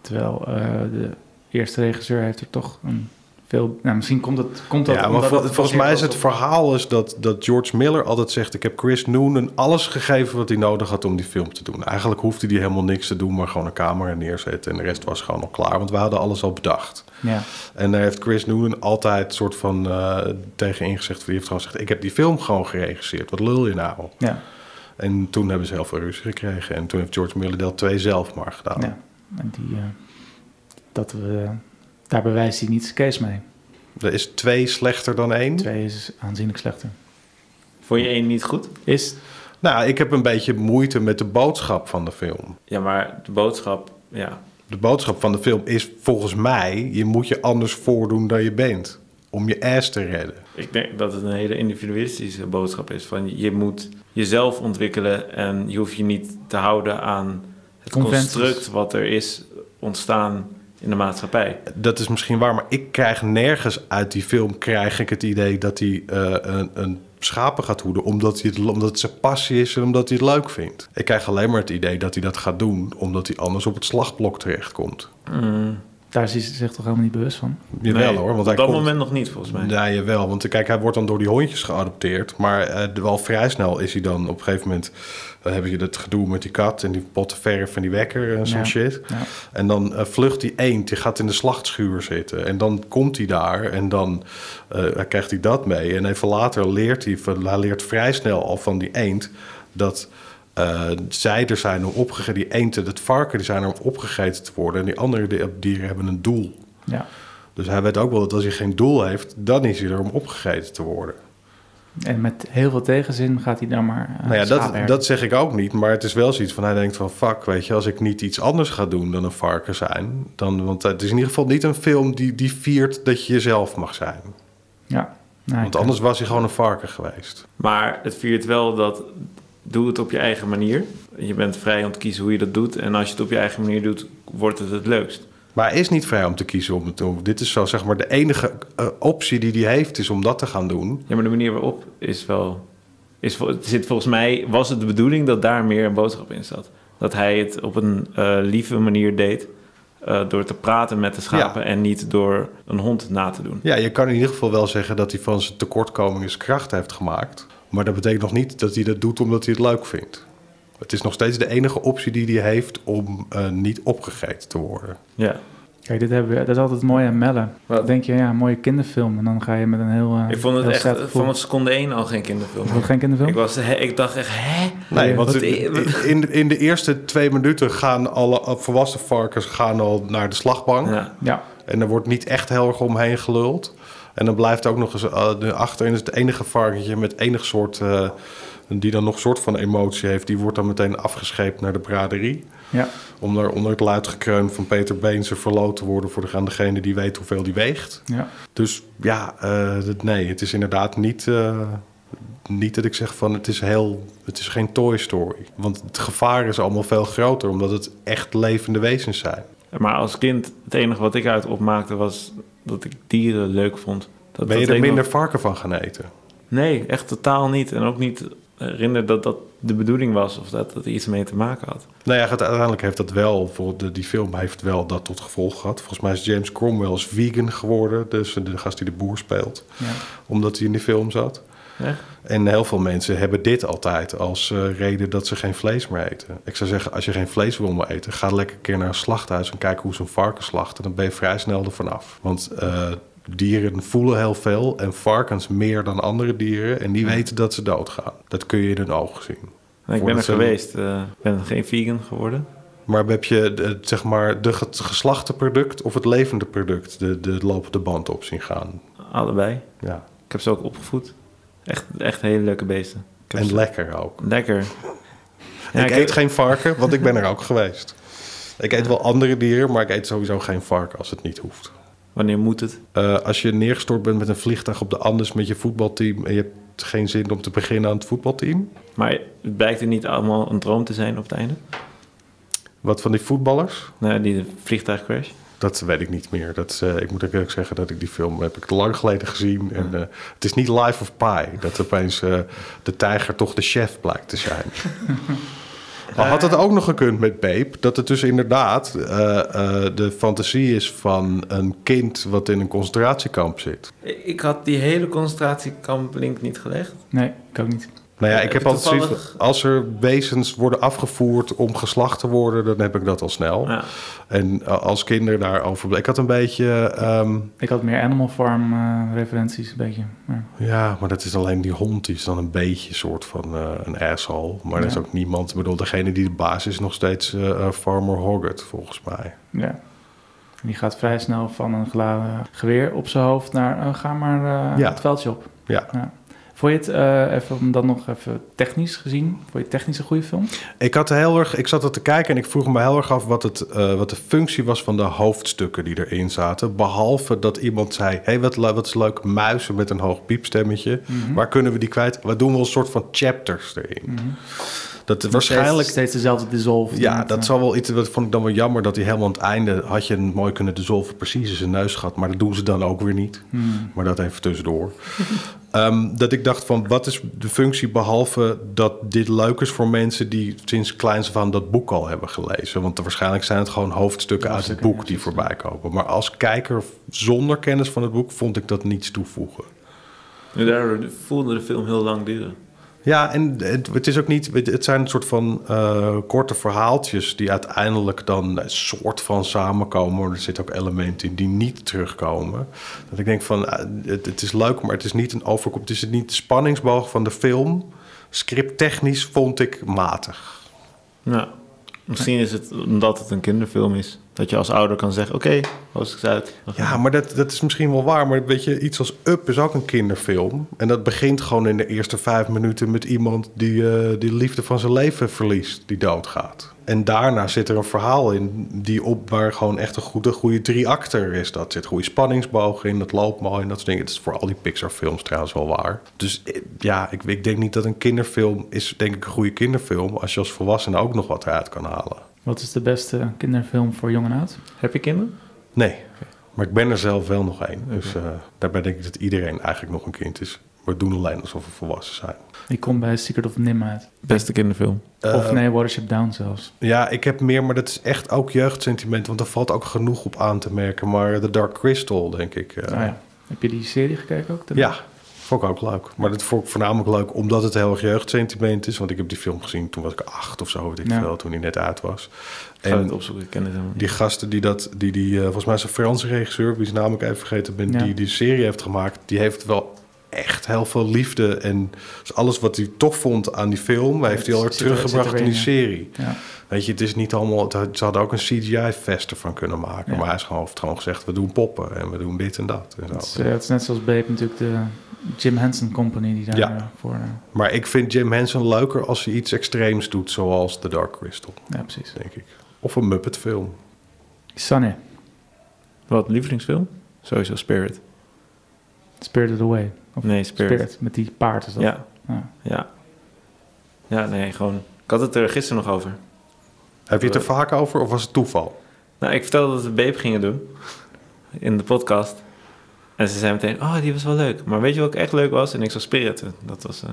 S1: Terwijl eh, de eerste regisseur heeft er toch een veel... Nou, misschien komt, het, komt dat
S3: ja, maar
S1: omdat
S3: vol-
S1: het
S3: volgens mij is het
S1: op-
S3: verhaal is dat, dat George Miller altijd zegt... ik heb Chris Noonan alles gegeven wat hij nodig had om die film te doen. Eigenlijk hoefde hij helemaal niks te doen, maar gewoon een camera neerzetten... en de rest was gewoon al klaar, want we hadden alles al bedacht.
S1: Ja,
S3: En daar heeft Chris Noonan altijd soort van eh, tegen ingezegd. Die heeft gewoon gezegd, ik heb die film gewoon geregisseerd. Wat lul je nou?
S1: ja,
S3: En toen hebben ze heel veel ruzie gekregen. En toen heeft George Miller deel 2 zelf maar gedaan.
S1: ja. En die, eh, dat we, daar bewijst hij niet zijn case mee.
S3: Er is twee slechter dan één.
S1: Twee is aanzienlijk slechter.
S2: Vond je één niet goed?
S1: Is,
S3: Nou, ik heb een beetje moeite met de boodschap van de film.
S2: Ja, maar de boodschap, ja.
S3: De boodschap van de film is volgens mij... je moet je anders voordoen dan je bent. om je ass te redden.
S2: Ik denk dat het een hele individualistische boodschap is. Van je moet jezelf ontwikkelen en je hoeft je niet te houden aan het
S1: Conventies.
S2: construct wat er is ontstaan in de maatschappij.
S3: Dat is misschien waar, maar ik krijg nergens uit die film krijg ik het idee dat hij eh, een, een schapen gaat hoeden, omdat, hij het, omdat het zijn passie is en omdat hij het leuk vindt. Ik krijg alleen maar het idee dat hij dat gaat doen, omdat hij anders op het slagblok terechtkomt.
S1: Daar is hij zich toch helemaal niet bewust van.
S3: Jawel
S2: Mm, Nee,
S3: hoor, want
S2: op
S3: hij
S2: dat
S3: komt...
S2: moment nog niet volgens mij.
S3: Ja, jawel. Want kijk, hij wordt dan door die hondjes geadopteerd. Maar eh, wel vrij snel is hij dan op een gegeven moment... Dan heb je dat gedoe met die kat en die potten verf en die wekker en zo'n
S1: Ja.
S3: shit.
S1: Ja.
S3: En dan eh, vlucht die eend, die gaat in de slachtschuur zitten. En dan komt hij daar en dan eh, krijgt hij dat mee. En even later leert hij, van- hij leert vrij snel al van die eend... dat eh, zij er zijn om opgegeten, die eend en het varken... die zijn er om opgegeten te worden. En die andere di- dieren hebben een doel.
S1: Ja.
S3: Dus hij weet ook wel dat als hij geen doel heeft, dan is hij er om opgegeten te worden.
S1: En met heel veel tegenzin gaat hij dan maar. eh,
S3: nou ja,
S1: schaapherder.
S3: dat, dat zeg ik ook niet, maar het is wel zoiets van hij denkt van fuck, weet je, als ik niet iets anders ga doen dan een varken zijn, dan, want het is in ieder geval niet een film die, die viert dat je jezelf mag zijn.
S1: Ja. Nou,
S3: Want
S1: ik-
S3: anders was hij gewoon een varken geweest.
S2: Maar het viert wel dat doe het op je eigen manier. Je bent vrij om te kiezen hoe je dat doet. En als je het op je eigen manier doet, wordt het het leukst.
S3: Maar hij is niet vrij om te kiezen om het te doen. Dit is zo, zeg maar, de enige eh, optie die hij heeft is om dat te gaan doen.
S2: Ja, maar de manier waarop is wel. Is, vol- het zit volgens mij was het de bedoeling dat daar meer een boodschap in zat. Dat hij het op een eh, lieve manier deed. eh, door te praten met de schapen en niet door een hond na te doen.
S3: Ja, je kan in ieder geval wel zeggen dat hij van zijn tekortkomingen zijn kracht heeft gemaakt. Maar dat betekent nog niet dat hij dat doet omdat hij het leuk vindt. Het is nog steeds de enige optie die hij heeft om eh, niet opgegeten te worden.
S2: Ja.
S1: Kijk, dit hebben we, dat is altijd mooi aan Mellen.
S2: Wat?
S1: Dan denk je, ja, een mooie kinderfilm. En dan ga je met een heel. eh,
S2: Ik vond het
S1: heel
S2: echt
S1: sad
S2: eh,
S1: gevoel.
S2: vanaf seconde één al geen kinderfilm.
S1: Is dat geen kinderfilm?
S2: Ik, was, hè, ik dacht echt, hè?
S3: Nee, want
S2: Wat-
S3: in- in, in de eerste twee minuten gaan alle volwassen varkens gaan al naar de slagbank.
S2: Ja.
S1: Ja.
S3: En er wordt niet echt heel erg omheen geluld. En dan blijft ook nog eens eh, achter. En is het enige varkentje met enig soort... eh, die dan nog een soort van emotie heeft... die wordt dan meteen afgescheept naar de braderie.
S1: Ja.
S3: Om daar onder het luidgekreun van Peter Beense verloot te worden voor de, aan degene die weet hoeveel die weegt.
S1: Ja.
S3: Dus ja, eh, dat- nee, het is inderdaad niet, eh, niet dat ik zeg van het is, heel, het is geen Toy Story. Want het gevaar is allemaal veel groter omdat het echt levende wezens zijn.
S2: Maar als kind, het enige wat ik uit opmaakte was dat ik dieren leuk vond. Dat,
S3: ben je
S2: dat
S3: er
S2: ik
S3: minder
S2: nog-
S3: varken van gaan eten?
S2: Nee, echt totaal niet. En ook niet herinner dat dat de bedoeling was of dat dat er iets mee te maken had.
S3: Nou ja, gaat- uiteindelijk heeft dat wel, bijvoorbeeld de- die film heeft wel dat tot gevolg gehad. Volgens mij is James Cromwell is vegan geworden, dus de gast die de boer speelt,
S1: Ja.
S3: omdat hij in die film zat.
S2: Echt?
S3: En heel veel mensen hebben dit altijd als eh, reden dat ze geen vlees meer eten. Ik zou zeggen, als je geen vlees wil meer eten, ga lekker een keer naar een slachthuis en kijk hoe ze een varken slachten. Dan ben je vrij snel ervan af. Want eh, dieren voelen heel veel en varkens meer dan andere dieren. En die weten dat ze doodgaan. Dat kun je in hun ogen zien.
S2: Nee, ik ben
S3: Voordat
S2: er
S3: ze-
S2: geweest. eh, Ik ben geen vegan geworden.
S3: Maar heb je de, zeg maar de ge- het geslachte product of het levende product de, de lopende band op zien gaan?
S2: Allebei.
S3: Ja.
S2: Ik heb ze ook opgevoed. Echt, echt hele leuke beesten. Ik heb
S3: En
S2: ze-
S3: lekker ook.
S2: lekker. Ja,
S3: ik,
S2: ik
S3: eet
S2: heb-
S3: geen varken, want ik ben er ook geweest. Ik eet wel andere dieren, maar ik eet sowieso geen varken als het niet hoeft.
S2: Wanneer moet het?
S3: Eh, als je neergestort bent met een vliegtuig op de Andes met je voetbalteam... en je hebt geen zin om te beginnen aan het voetbalteam...
S2: Maar het blijkt er niet allemaal een droom te zijn op het einde.
S3: wat van die voetballers,
S2: Nou, die vliegtuigcrash.
S3: dat weet ik niet meer. Dat, is, eh, ik moet ook eerlijk zeggen dat ik die film heb ik lang geleden gezien. En, eh, het is niet Life of Pi, dat opeens eh, de tijger toch de chef blijkt te
S2: (laughs)
S3: zijn. Al had
S2: Eh.
S3: het ook nog gekund met Babe, dat het dus inderdaad eh, eh, de fantasie is van een kind wat in een concentratiekamp zit.
S2: Ik had die hele concentratiekamp link niet gelegd.
S1: Nee, ik ook niet.
S3: Nou ja,
S2: Eh,
S3: ik heb altijd
S2: toevallig-
S3: zoiets van, als er wezens worden afgevoerd om geslacht te worden, dan heb ik dat al snel.
S2: Ja.
S3: En eh, als kinderen daarover... Ik had een beetje... ehm,
S1: Ik had meer Animal Farm eh, referenties, een beetje. Ja.
S3: Ja, maar dat is alleen die hond. Die is dan een beetje soort van eh, een asshole. Maar dat is
S1: Ja.
S3: ook niemand. Ik bedoel, degene die de baas is, is nog steeds eh, eh, Farmer Hoggett, volgens mij.
S1: Ja. En die gaat vrij snel van een geladen geweer op zijn hoofd naar eh, oh, ga maar eh,
S3: Ja.
S1: het veldje op.
S3: Ja.
S1: Ja. Vond je het, eh, even om dan nog even technisch gezien, vond je het technisch een goede film?
S3: Ik, had heel erg, ik zat er te kijken en ik vroeg me heel erg af wat, het, eh, wat de functie was van de hoofdstukken die erin zaten. Behalve dat iemand zei: hey, wat, le- wat is leuk, muizen met een hoog piepstemmetje.
S1: Mhm. Hm?
S3: Waar kunnen we die kwijt? We doen wel een soort van chapters erin. Dat
S1: Steeds,
S3: waarschijnlijk.
S1: Mhm. steeds dezelfde dissolved.
S3: Ja,
S1: met,
S3: dat
S1: eh,
S3: zal wel iets. Dat vond ik dan wel jammer dat hij helemaal aan het einde had je hem mooi kunnen dissolven, precies in zijn neus gehad. Maar dat doen ze dan ook weer niet.
S1: mhm.
S3: Maar dat even tussendoor. Ehm, dat ik dacht van wat is de functie behalve dat dit leuk is voor mensen die sinds kleins van dat boek al hebben gelezen. Want waarschijnlijk zijn het gewoon hoofdstukken uit het
S1: Hoofdstukken,
S3: boek die voorbij komen. Maar als kijker zonder kennis van het boek vond ik dat niets toevoegen.
S4: En daardoor voelde de film heel lang duren.
S3: Ja, en het, het is ook niet. Het het zijn een soort van eh, korte verhaaltjes die uiteindelijk dan een soort van samenkomen. Maar er zitten ook elementen in die niet terugkomen. Dat ik denk van eh, het, het is leuk, maar het is niet een overkop. Het is niet de spanningsboog van de film. Scripttechnisch vond ik matig.
S4: Ja. Misschien is het omdat het een kinderfilm is. Dat je als ouder kan zeggen, oké, hoofdstuk is uit. we gaan.
S3: Ja, maar dat, dat is misschien wel waar. Maar weet je, iets als Up is ook een kinderfilm. En dat begint gewoon in de eerste vijf minuten met iemand die eh, die de liefde van zijn leven verliest, die doodgaat. En daarna zit er een verhaal in die op waar gewoon echt een goede, goede drie-acter is. Dat zit goede spanningsboog in, dat loopt mooi en dat soort dingen. Het is voor al die Pixar-films trouwens wel waar. Dus eh, ja, ik, ik denk niet dat een kinderfilm is, denk ik, een goede kinderfilm. Als je als volwassene ook nog wat eruit kan halen.
S1: Wat is de beste kinderfilm voor jong en oud?
S4: Heb je kinderen?
S3: Nee, maar ik ben er zelf wel nog één. Dus eh, daarbij denk ik dat iedereen eigenlijk nog een kind is. We doen alleen alsof we volwassen zijn.
S1: Ik kom bij Secret of Nim uit.
S4: Beste kinderfilm.
S3: Eh,
S1: of nee, Watership Down zelfs.
S3: Ja, ik heb meer, maar dat is echt ook jeugdsentiment. Want er valt ook genoeg op aan te merken. Maar The Dark Crystal, denk ik. eh,
S1: Nou ja. Heb je die serie gekeken ook?
S3: ja, vond ik ook leuk. Maar dat vond ik voornamelijk leuk omdat het heel erg jeugdsentiment is. Want ik heb die film gezien toen was ik acht of zo, weet ik
S1: Ja.
S3: veel, toen die net uit was.
S4: Ik ga
S3: En-
S4: het opzoeken, ik ken het helemaal niet.
S3: Die gasten die dat, die, die eh, volgens mij is een Franse regisseur, wie zijn naam ik even vergeten ben,
S1: Ja.
S3: die die serie heeft gemaakt, die heeft wel echt heel veel liefde. En dus alles wat hij tof vond aan die film, heeft hij al
S1: het
S3: erg
S1: zit er-
S3: teruggebracht
S1: zit er
S3: in die
S1: in,
S3: serie.
S1: Ja.
S3: Weet je, het is niet allemaal, het had- ze hadden ook een CGI-fest ervan kunnen maken,
S1: Ja.
S3: maar hij is gewoon, heeft gewoon gezegd, we doen poppen en we doen dit en dat. En
S1: Het is,
S3: zo.
S1: eh, het is net zoals Babe natuurlijk de Jim Henson Company die daar
S3: Ja.
S1: eh, voor... eh,
S3: Maar ik vind Jim Henson leuker als hij iets extreems doet, zoals The Dark Crystal,
S1: ja, precies.
S3: denk ik. Of een Muppet-film.
S1: Sunny,
S4: Wat, lievelingsfilm? Sowieso Spirit.
S1: Spirited Away. Of
S4: Nee,
S1: Spirit.
S4: Spirit.
S1: met die paard is dat.
S4: Ja,
S1: Ja.
S4: ja. Ja, nee, gewoon... Ik had het er gisteren nog over.
S3: Heb
S1: Eh.
S3: je het er vaak over of was het toeval?
S4: Nou, ik vertelde dat we Babe gingen doen in de podcast. En ze zei meteen, oh, die was wel leuk. Maar weet je wat ook echt leuk was? En ik zag Spirit. Dat was... eh,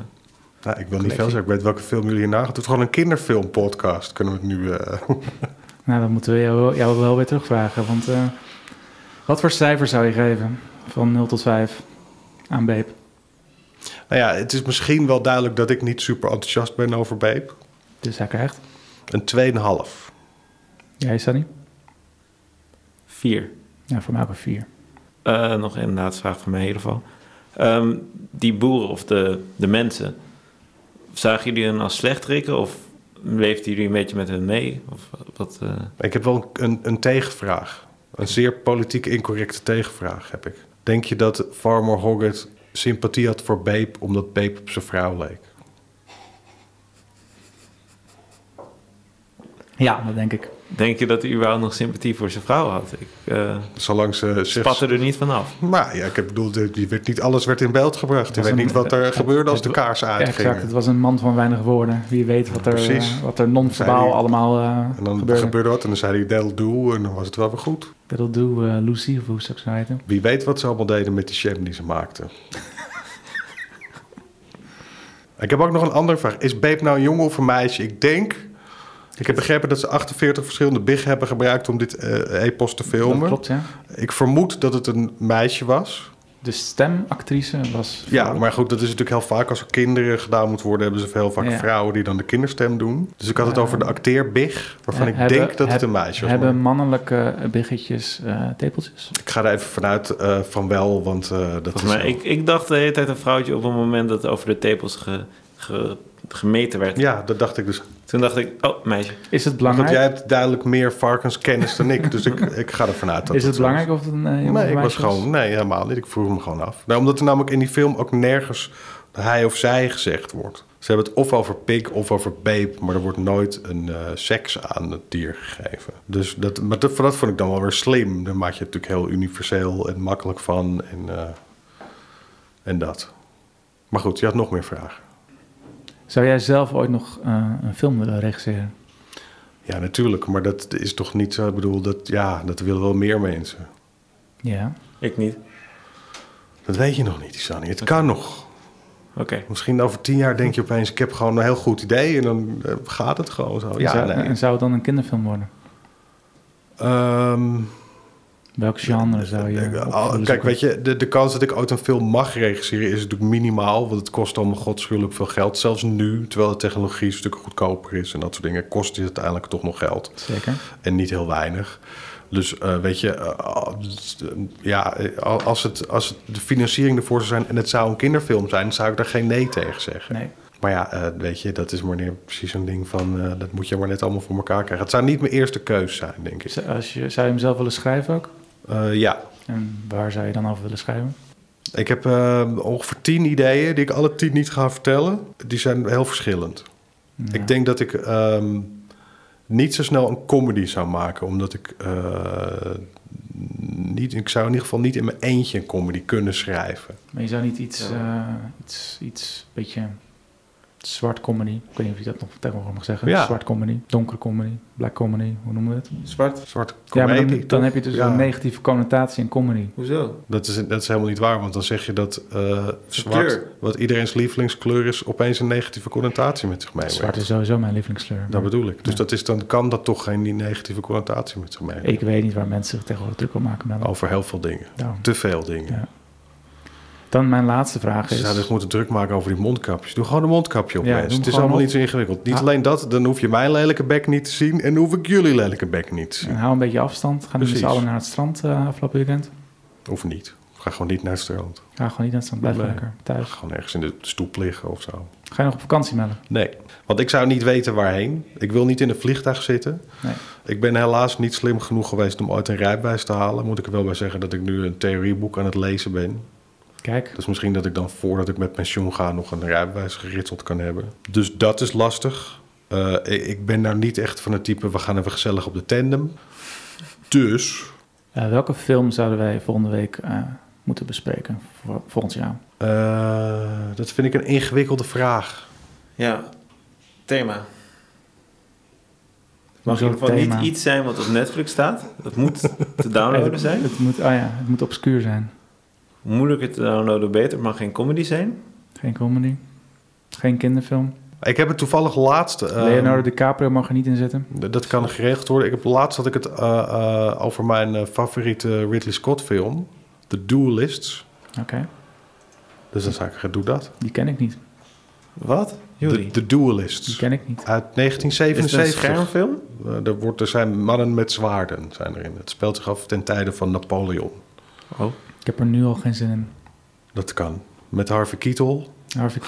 S3: Nou, ik wil niet veel zeggen. Ik weet welke film jullie hierna gaan. Het is gewoon een kinderfilmpodcast. Kunnen we het nu... eh, (laughs)
S1: Nou, dan moeten we jou, wel- jou wel weer terugvragen. Want eh, wat voor cijfer zou je geven van 0 tot 5 aan Babe?
S3: nou ja, het is misschien wel duidelijk dat ik niet super enthousiast ben over Babe.
S1: Dus hij krijgt.
S3: Een 2,5.
S1: Jij, Sunny?
S4: Vier.
S1: Ja, voor mij ook een 4.
S4: Eh, nog een laatste vraag van mij in ieder geval. Ehm, die boeren of de, de mensen, zagen jullie hen als slechtrikken of leefden jullie een beetje met hen mee? Of wat, eh,
S3: Ik heb wel een, een, een tegenvraag. Een zeer politiek incorrecte tegenvraag heb ik. Denk je dat Farmer Hoggett sympathie had voor Babe... omdat Babe op zijn vrouw leek?
S1: Ja, dat denk ik.
S4: denk je dat hij überhaupt nog sympathie voor zijn vrouw had? Ik eh
S3: Zolang ze zich...
S4: spatte er niet vanaf.
S3: Nou ja, ik heb bedoeld, eh, die werd niet, alles werd in beeld gebracht. Je
S1: Was
S3: weet
S1: een-
S3: niet wat er gebeurde als de kaars
S1: Ja,
S3: uitging.
S1: exact. Het was een man van weinig woorden. Wie weet wat er,
S3: Precies.
S1: eh, wat er non-verbaal
S3: Zei hij.
S1: allemaal eh
S3: En dan
S1: gebeurde.
S3: gebeurde wat en dan zei hij del doe en dan was het wel weer goed.
S1: That'll do, eh, Lucy, of hoe zou ik ze heten?
S3: Wie weet wat ze allemaal deden met die sham die ze
S1: (laughs)
S3: maakten. ik heb ook nog een andere vraag. Is Babe nou een jongen of een meisje? Ik denk... Ik heb begrepen dat ze 48 verschillende big hebben gebruikt om dit eh epos te
S1: Dat
S3: filmen.
S1: klopt, ja.
S3: Ik vermoed dat het een meisje was.
S1: De stemactrice was...
S3: Ja, maar goed, dat is natuurlijk heel vaak. Als er kinderen gedaan moet worden, hebben ze heel vaak
S1: Ja.
S3: vrouwen die dan de kinderstem doen. Dus ik had het over de acteer big, waarvan
S1: Eh,
S3: ik
S1: hebben-
S3: denk dat het
S1: heb-
S3: een meisje was.
S1: Hebben mannelijke biggetjes eh, tepeltjes?
S3: Ik ga er even vanuit eh, van wel, want eh, dat is...
S4: Volgens mij,
S3: wel-
S4: ik, ik dacht de hele tijd een vrouwtje op het moment dat over de tepels ge- ge- gemeten werd.
S3: Ja, dat dacht ik dus
S4: Toen dacht ik, oh meisje,
S1: Is het
S3: Want
S1: belangrijk?
S3: jij hebt duidelijk meer varkenskennis dan ik, dus ik, ik ga ervan uit dat
S1: is het
S3: zo
S1: belangrijk of het een eh, jongen
S3: Nee,
S1: of
S3: ik
S1: een
S3: was
S1: meisje
S3: gewoon, nee, helemaal niet. Ik vroeg me gewoon af. Nou, omdat er namelijk in die film ook nergens hij of zij gezegd wordt. Ze hebben het of over pik of over babe, maar er wordt nooit een eh, seks aan het dier gegeven. Dus dat, maar dat, dat vond ik dan wel weer slim. Dan maak je het natuurlijk heel universeel en makkelijk van en, eh, en dat. Maar goed, je had nog meer vragen.
S1: Zou jij zelf ooit nog eh, een film willen regisseren?
S3: Ja, natuurlijk, maar dat is toch niet zo. Ik bedoel, dat, ja, dat willen wel meer mensen.
S1: Ja.
S4: Ik niet.
S3: Dat weet je nog niet, Sunny. Het kan nog.
S4: Oké.
S3: Misschien over tien jaar denk je opeens: ik heb gewoon een heel goed idee en dan eh, gaat het gewoon zo.
S1: En
S3: Ja,
S1: zou,
S3: nee.
S1: En zou het dan een kinderfilm worden?
S3: Ehm,
S1: Welk genre zou je...
S3: eh,
S1: op
S3: al-
S1: willen
S3: kijk,
S1: zoeken?
S3: weet je, de, de kans dat ik ooit een film mag regisseren is natuurlijk minimaal. Want het kost allemaal godschuwelijk veel geld. Zelfs nu, terwijl de technologie een stuk goedkoper is en dat soort dingen, kost het uiteindelijk toch nog geld.
S1: Zeker.
S3: En niet heel weinig. Dus eh, weet je, eh, als- eh, ja, eh, als, het, als het de financiering ervoor zou zijn en het zou een kinderfilm zijn, dan zou ik daar geen nee tegen zeggen.
S1: Nee.
S3: Maar ja, eh, weet je, dat is maar neer- precies zo'n ding van eh, dat moet je maar net allemaal voor elkaar krijgen. Het zou niet mijn eerste keus zijn, denk ik.
S1: Z- Als je, zou je hem zelf willen schrijven ook?
S3: Eh, ja,
S1: En waar zou je dan over willen schrijven?
S3: ik heb eh, ongeveer tien ideeën die ik alle tien niet ga vertellen. Die zijn heel verschillend.
S1: Ja.
S3: Ik denk dat ik ehm, niet zo snel een comedy zou maken, omdat ik eh, niet, ik zou in ieder geval niet in mijn eentje een comedy kunnen schrijven.
S1: Maar je zou niet iets, eh, iets, iets, beetje zwart comedy. Ik weet niet of je dat nog tegenwoordig mag zeggen.
S3: Ja.
S1: Zwart comedy, donkere comedy, black comedy, hoe noemen we het?
S4: Zwart?
S3: Zwarte
S1: Ja, maar
S3: comedy.
S1: dan, dan
S3: toch?
S1: heb je dus
S3: Ja.
S1: een negatieve connotatie in comedy.
S4: Hoezo?
S3: dat, is, dat is helemaal niet waar, want dan zeg je dat eh, zwart,
S4: kleur.
S3: wat iedereen's lievelingskleur is, opeens een negatieve connotatie met zich meebrengt.
S1: Zwart is sowieso mijn lievelingskleur.
S3: Dat bedoel ik. Dus
S1: Ja.
S3: dat is, dan kan dat toch geen die negatieve connotatie met zich meebrengen.
S1: Ik weet niet waar mensen zich tegenwoordig druk om maken. Mello.
S3: Over heel veel dingen.
S1: Daarom.
S3: Te veel dingen.
S1: Ja. Dan mijn laatste vraag
S3: Ze
S1: is...
S3: zouden zich moeten druk maken over die mondkapjes. Doe gewoon een mondkapje op,
S1: Ja, doe
S3: mensen.
S1: hem
S3: Het is
S1: gewoon
S3: allemaal
S1: op.
S3: niet zo ingewikkeld. Niet
S1: Ah.
S3: alleen dat, dan hoef je mijn lelijke bek niet te zien... en dan hoef ik jullie lelijke bek niet te zien.
S1: En hou een beetje afstand. Gaan we met
S3: Precies.
S1: z'n allen naar het strand eh afgelopen weekend?
S3: Of niet. Ga gewoon niet naar het strand.
S1: Ga gewoon niet naar het strand. Blijf
S3: Nee.
S1: lekker thuis.
S3: Gewoon ergens in de stoep liggen of zo.
S1: Ga je nog op vakantie melden?
S3: Nee, want ik zou niet weten waarheen. Ik wil niet in een vliegtuig zitten.
S1: Nee.
S3: Ik ben helaas niet slim genoeg geweest om ooit een rijbewijs te halen. Moet ik er wel bij zeggen dat ik nu een theorieboek aan het lezen ben.
S1: Kijk,
S3: Dus misschien dat ik dan voordat ik met pensioen ga nog een rijbewijs geritseld kan hebben. Dus dat is lastig. Eh, ik- ik ben nou niet echt van het type, we gaan even gezellig op de tandem. Dus
S1: eh, welke film zouden wij volgende week eh, moeten bespreken? Voor, volgend jaar.
S3: eh, dat vind ik een ingewikkelde vraag.
S4: Ja. Thema. Het mag
S1: Hoezo
S4: in ieder geval
S1: thema?
S4: niet iets zijn wat op Netflix staat. Het moet te
S1: (laughs)
S4: downloaden zijn.
S1: Oh, Het moet, ah ja, het moet obscuur zijn.
S4: Hoe moeilijker te downloaden, beter. Het mag geen comedy zijn.
S1: Geen comedy. Geen kinderfilm.
S3: Ik heb het toevallig laatst... eh,
S1: Leonardo DiCaprio mag er niet in zitten.
S3: d- Dat kan geregeld worden. Ik heb laatst had ik het eh, eh, over mijn eh, favoriete Ridley Scott film. The Duelists.
S1: Oké,
S3: Dus dan zou ik zeggen, doe dat.
S1: die ken ik niet.
S4: Wat?
S3: The,
S4: Jullie?
S3: The
S1: Die
S3: Duelists.
S1: ken ik niet.
S3: Uit
S4: Is het
S3: 1977.
S4: een schermfilm?
S3: Eh, er, wordt, er zijn mannen met zwaarden zijn erin. Het speelt zich af ten tijde van Napoleon.
S4: Oh.
S1: Ik heb er nu al geen zin in.
S3: Dat kan. Met Harvey Keitel (laughs)
S1: Harvey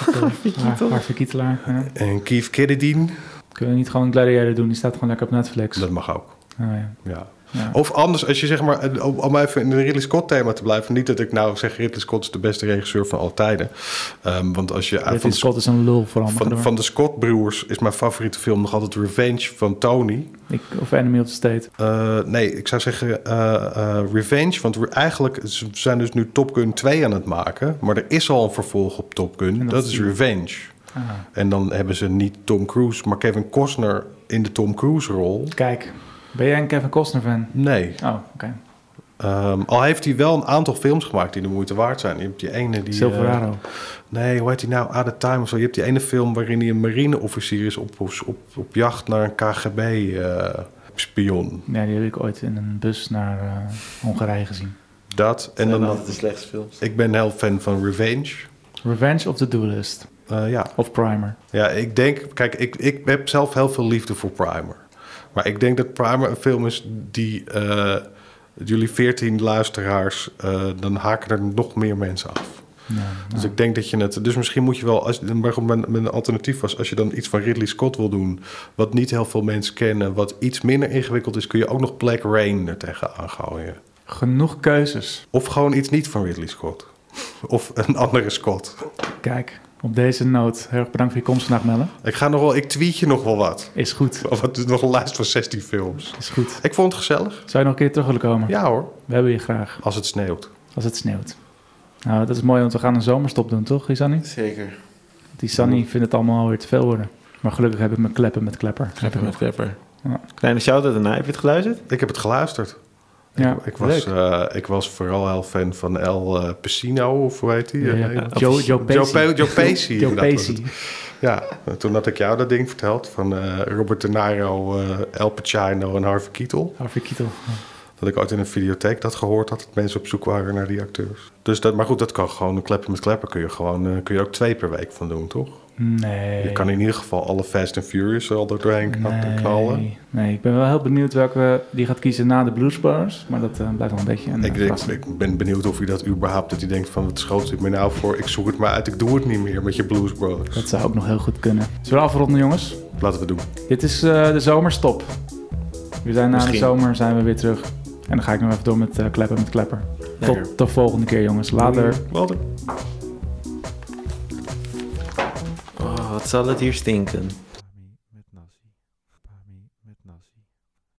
S1: Keitel. Ah, Harvey Keitelaar. Ja.
S3: en Keith Kennedy.
S1: Kunnen we niet gewoon Gladiator doen? Die staat gewoon lekker op Netflix.
S3: Dat mag ook.
S1: Oh, ja.
S3: Ja.
S1: Ja.
S3: Of anders, als je zeg maar, eh, om, om even in het Ridley Scott thema te blijven. Niet dat ik nou zeg, Ridley Scott is de beste regisseur van alle tijden. Ehm, want als je
S1: Ridley
S3: van, de,
S1: Scott is een lul vooral. maar ga
S3: van,
S1: door.
S3: van de Scott broers is mijn favoriete film nog altijd Revenge van Tony.
S1: Ik, of Enemy of the State.
S3: Eh, nee, ik zou zeggen eh, eh, Revenge. Want we eigenlijk ze zijn dus nu Top Gun 2 aan het maken. Maar er is al een vervolg op Top Gun.
S1: dat
S3: Dat,
S1: is
S3: is
S1: die-
S3: Revenge.
S1: Ah,
S3: En dan hebben ze niet Tom Cruise, maar Kevin Costner in de Tom Cruise rol.
S1: kijk, ben jij een Kevin Costner fan?
S3: Nee.
S1: Oh, oké.
S3: Ehm, al heeft hij wel een aantal films gemaakt die de moeite waard zijn. Je hebt die ene die... eh,
S1: Silverado.
S3: nee, hoe heet die nou? Out of Time of zo. Je hebt die ene film waarin hij een marineofficier is op, op, op, op jacht naar een eh, KGB-spion.
S1: Nee, die heb ik ooit in een bus naar eh, Hongarije gezien.
S3: dat. En dan...
S4: de slechtste films.
S3: Ik ben heel fan van Revenge.
S1: Revenge of the Duelist.
S3: Eh, ja.
S1: Of Primer.
S3: ja, ik denk... Kijk, ik, ik heb zelf heel veel liefde voor Primer. Maar ik denk dat Primer een film is die... eh, jullie 14 luisteraars, eh, dan haken er nog meer mensen af.
S1: Ja,
S3: Dus ik denk dat je het. Dus misschien moet je wel. Als, maar goed, mijn, mijn alternatief was. Als je dan iets van Ridley Scott wil doen. Wat niet heel veel mensen kennen. Wat iets minder ingewikkeld is. Kun je ook nog Black Rain er tegenaan gooien.
S1: Genoeg keuzes.
S3: Of gewoon iets niet van Ridley Scott. Of een andere Scott.
S1: Kijk, Op deze noot, heel erg bedankt voor je komst vandaag, Melle.
S3: Ik, ga nog wel, ik tweet je nog wel wat.
S1: Is goed,
S3: Of wat, nog een lijst van 16 films.
S1: is goed.
S3: Ik vond het gezellig.
S1: Zou je nog een keer terug willen komen?
S3: Ja hoor,
S1: We hebben je graag,
S3: als het sneeuwt.
S1: als het sneeuwt. Nou, dat is mooi, want we gaan een zomerstop doen, toch, Isani?
S4: Zeker.
S1: Die Sunny vindt het allemaal weer te veel worden. Maar gelukkig heb ik mijn kleppen met klepper.
S4: Klepper met Klepper.
S1: Ja.
S4: Kleine shout-out daarna. Heb je het geluisterd?
S3: Ik heb het geluisterd.
S1: Ja,
S3: ik, was, eh, ik was vooral heel fan van El eh, Pacino, of hoe heet die?
S1: Ja, ja.
S3: Eh,
S1: Joe- Joe Pesci.
S3: Joe,
S1: (laughs)
S3: Pe- Joe Pesci.
S1: Joe
S3: inderdaad was
S1: Pesci.
S3: het. Ja, en toen had ik jou dat ding verteld van eh, Robert De Niro, eh, El Pacino en Harvey Keitel.
S1: Harvey Keitel.
S3: Dat ik ooit in een videotheek dat gehoord had, dat mensen op zoek waren naar die acteurs. Dus dat, maar goed, dat kan gewoon, een klepper met klepper kun je gewoon, eh, kun je ook twee per week van doen, toch?
S1: Nee.
S3: Je kan in ieder geval alle Fast and Furious er al doorheen kna- knallen.
S1: Nee. nee, ik ben wel heel benieuwd welke die gaat kiezen na de Blues Brothers. Maar dat eh, blijft nog een beetje een
S3: Ik,
S1: eh,
S3: denk,
S1: verrassing.
S3: ik ben benieuwd of hij dat überhaupt, dat hij denkt van wat schoot ik me nou voor, ik zoek het maar uit, ik doe het niet meer met je Blues Brothers.
S1: Dat zou ook nog heel goed kunnen. Zullen we afronden, jongens?
S3: Laten we doen.
S1: Dit is eh, de zomerstop. We zijn na de
S4: Misschien.
S1: zomer zijn we weer terug. En dan ga ik nog even door met eh, kleppen met klepper.
S4: Lekker.
S1: Tot de volgende keer, jongens. Later.
S3: Later.
S4: Oh, wat zal het hier stinken.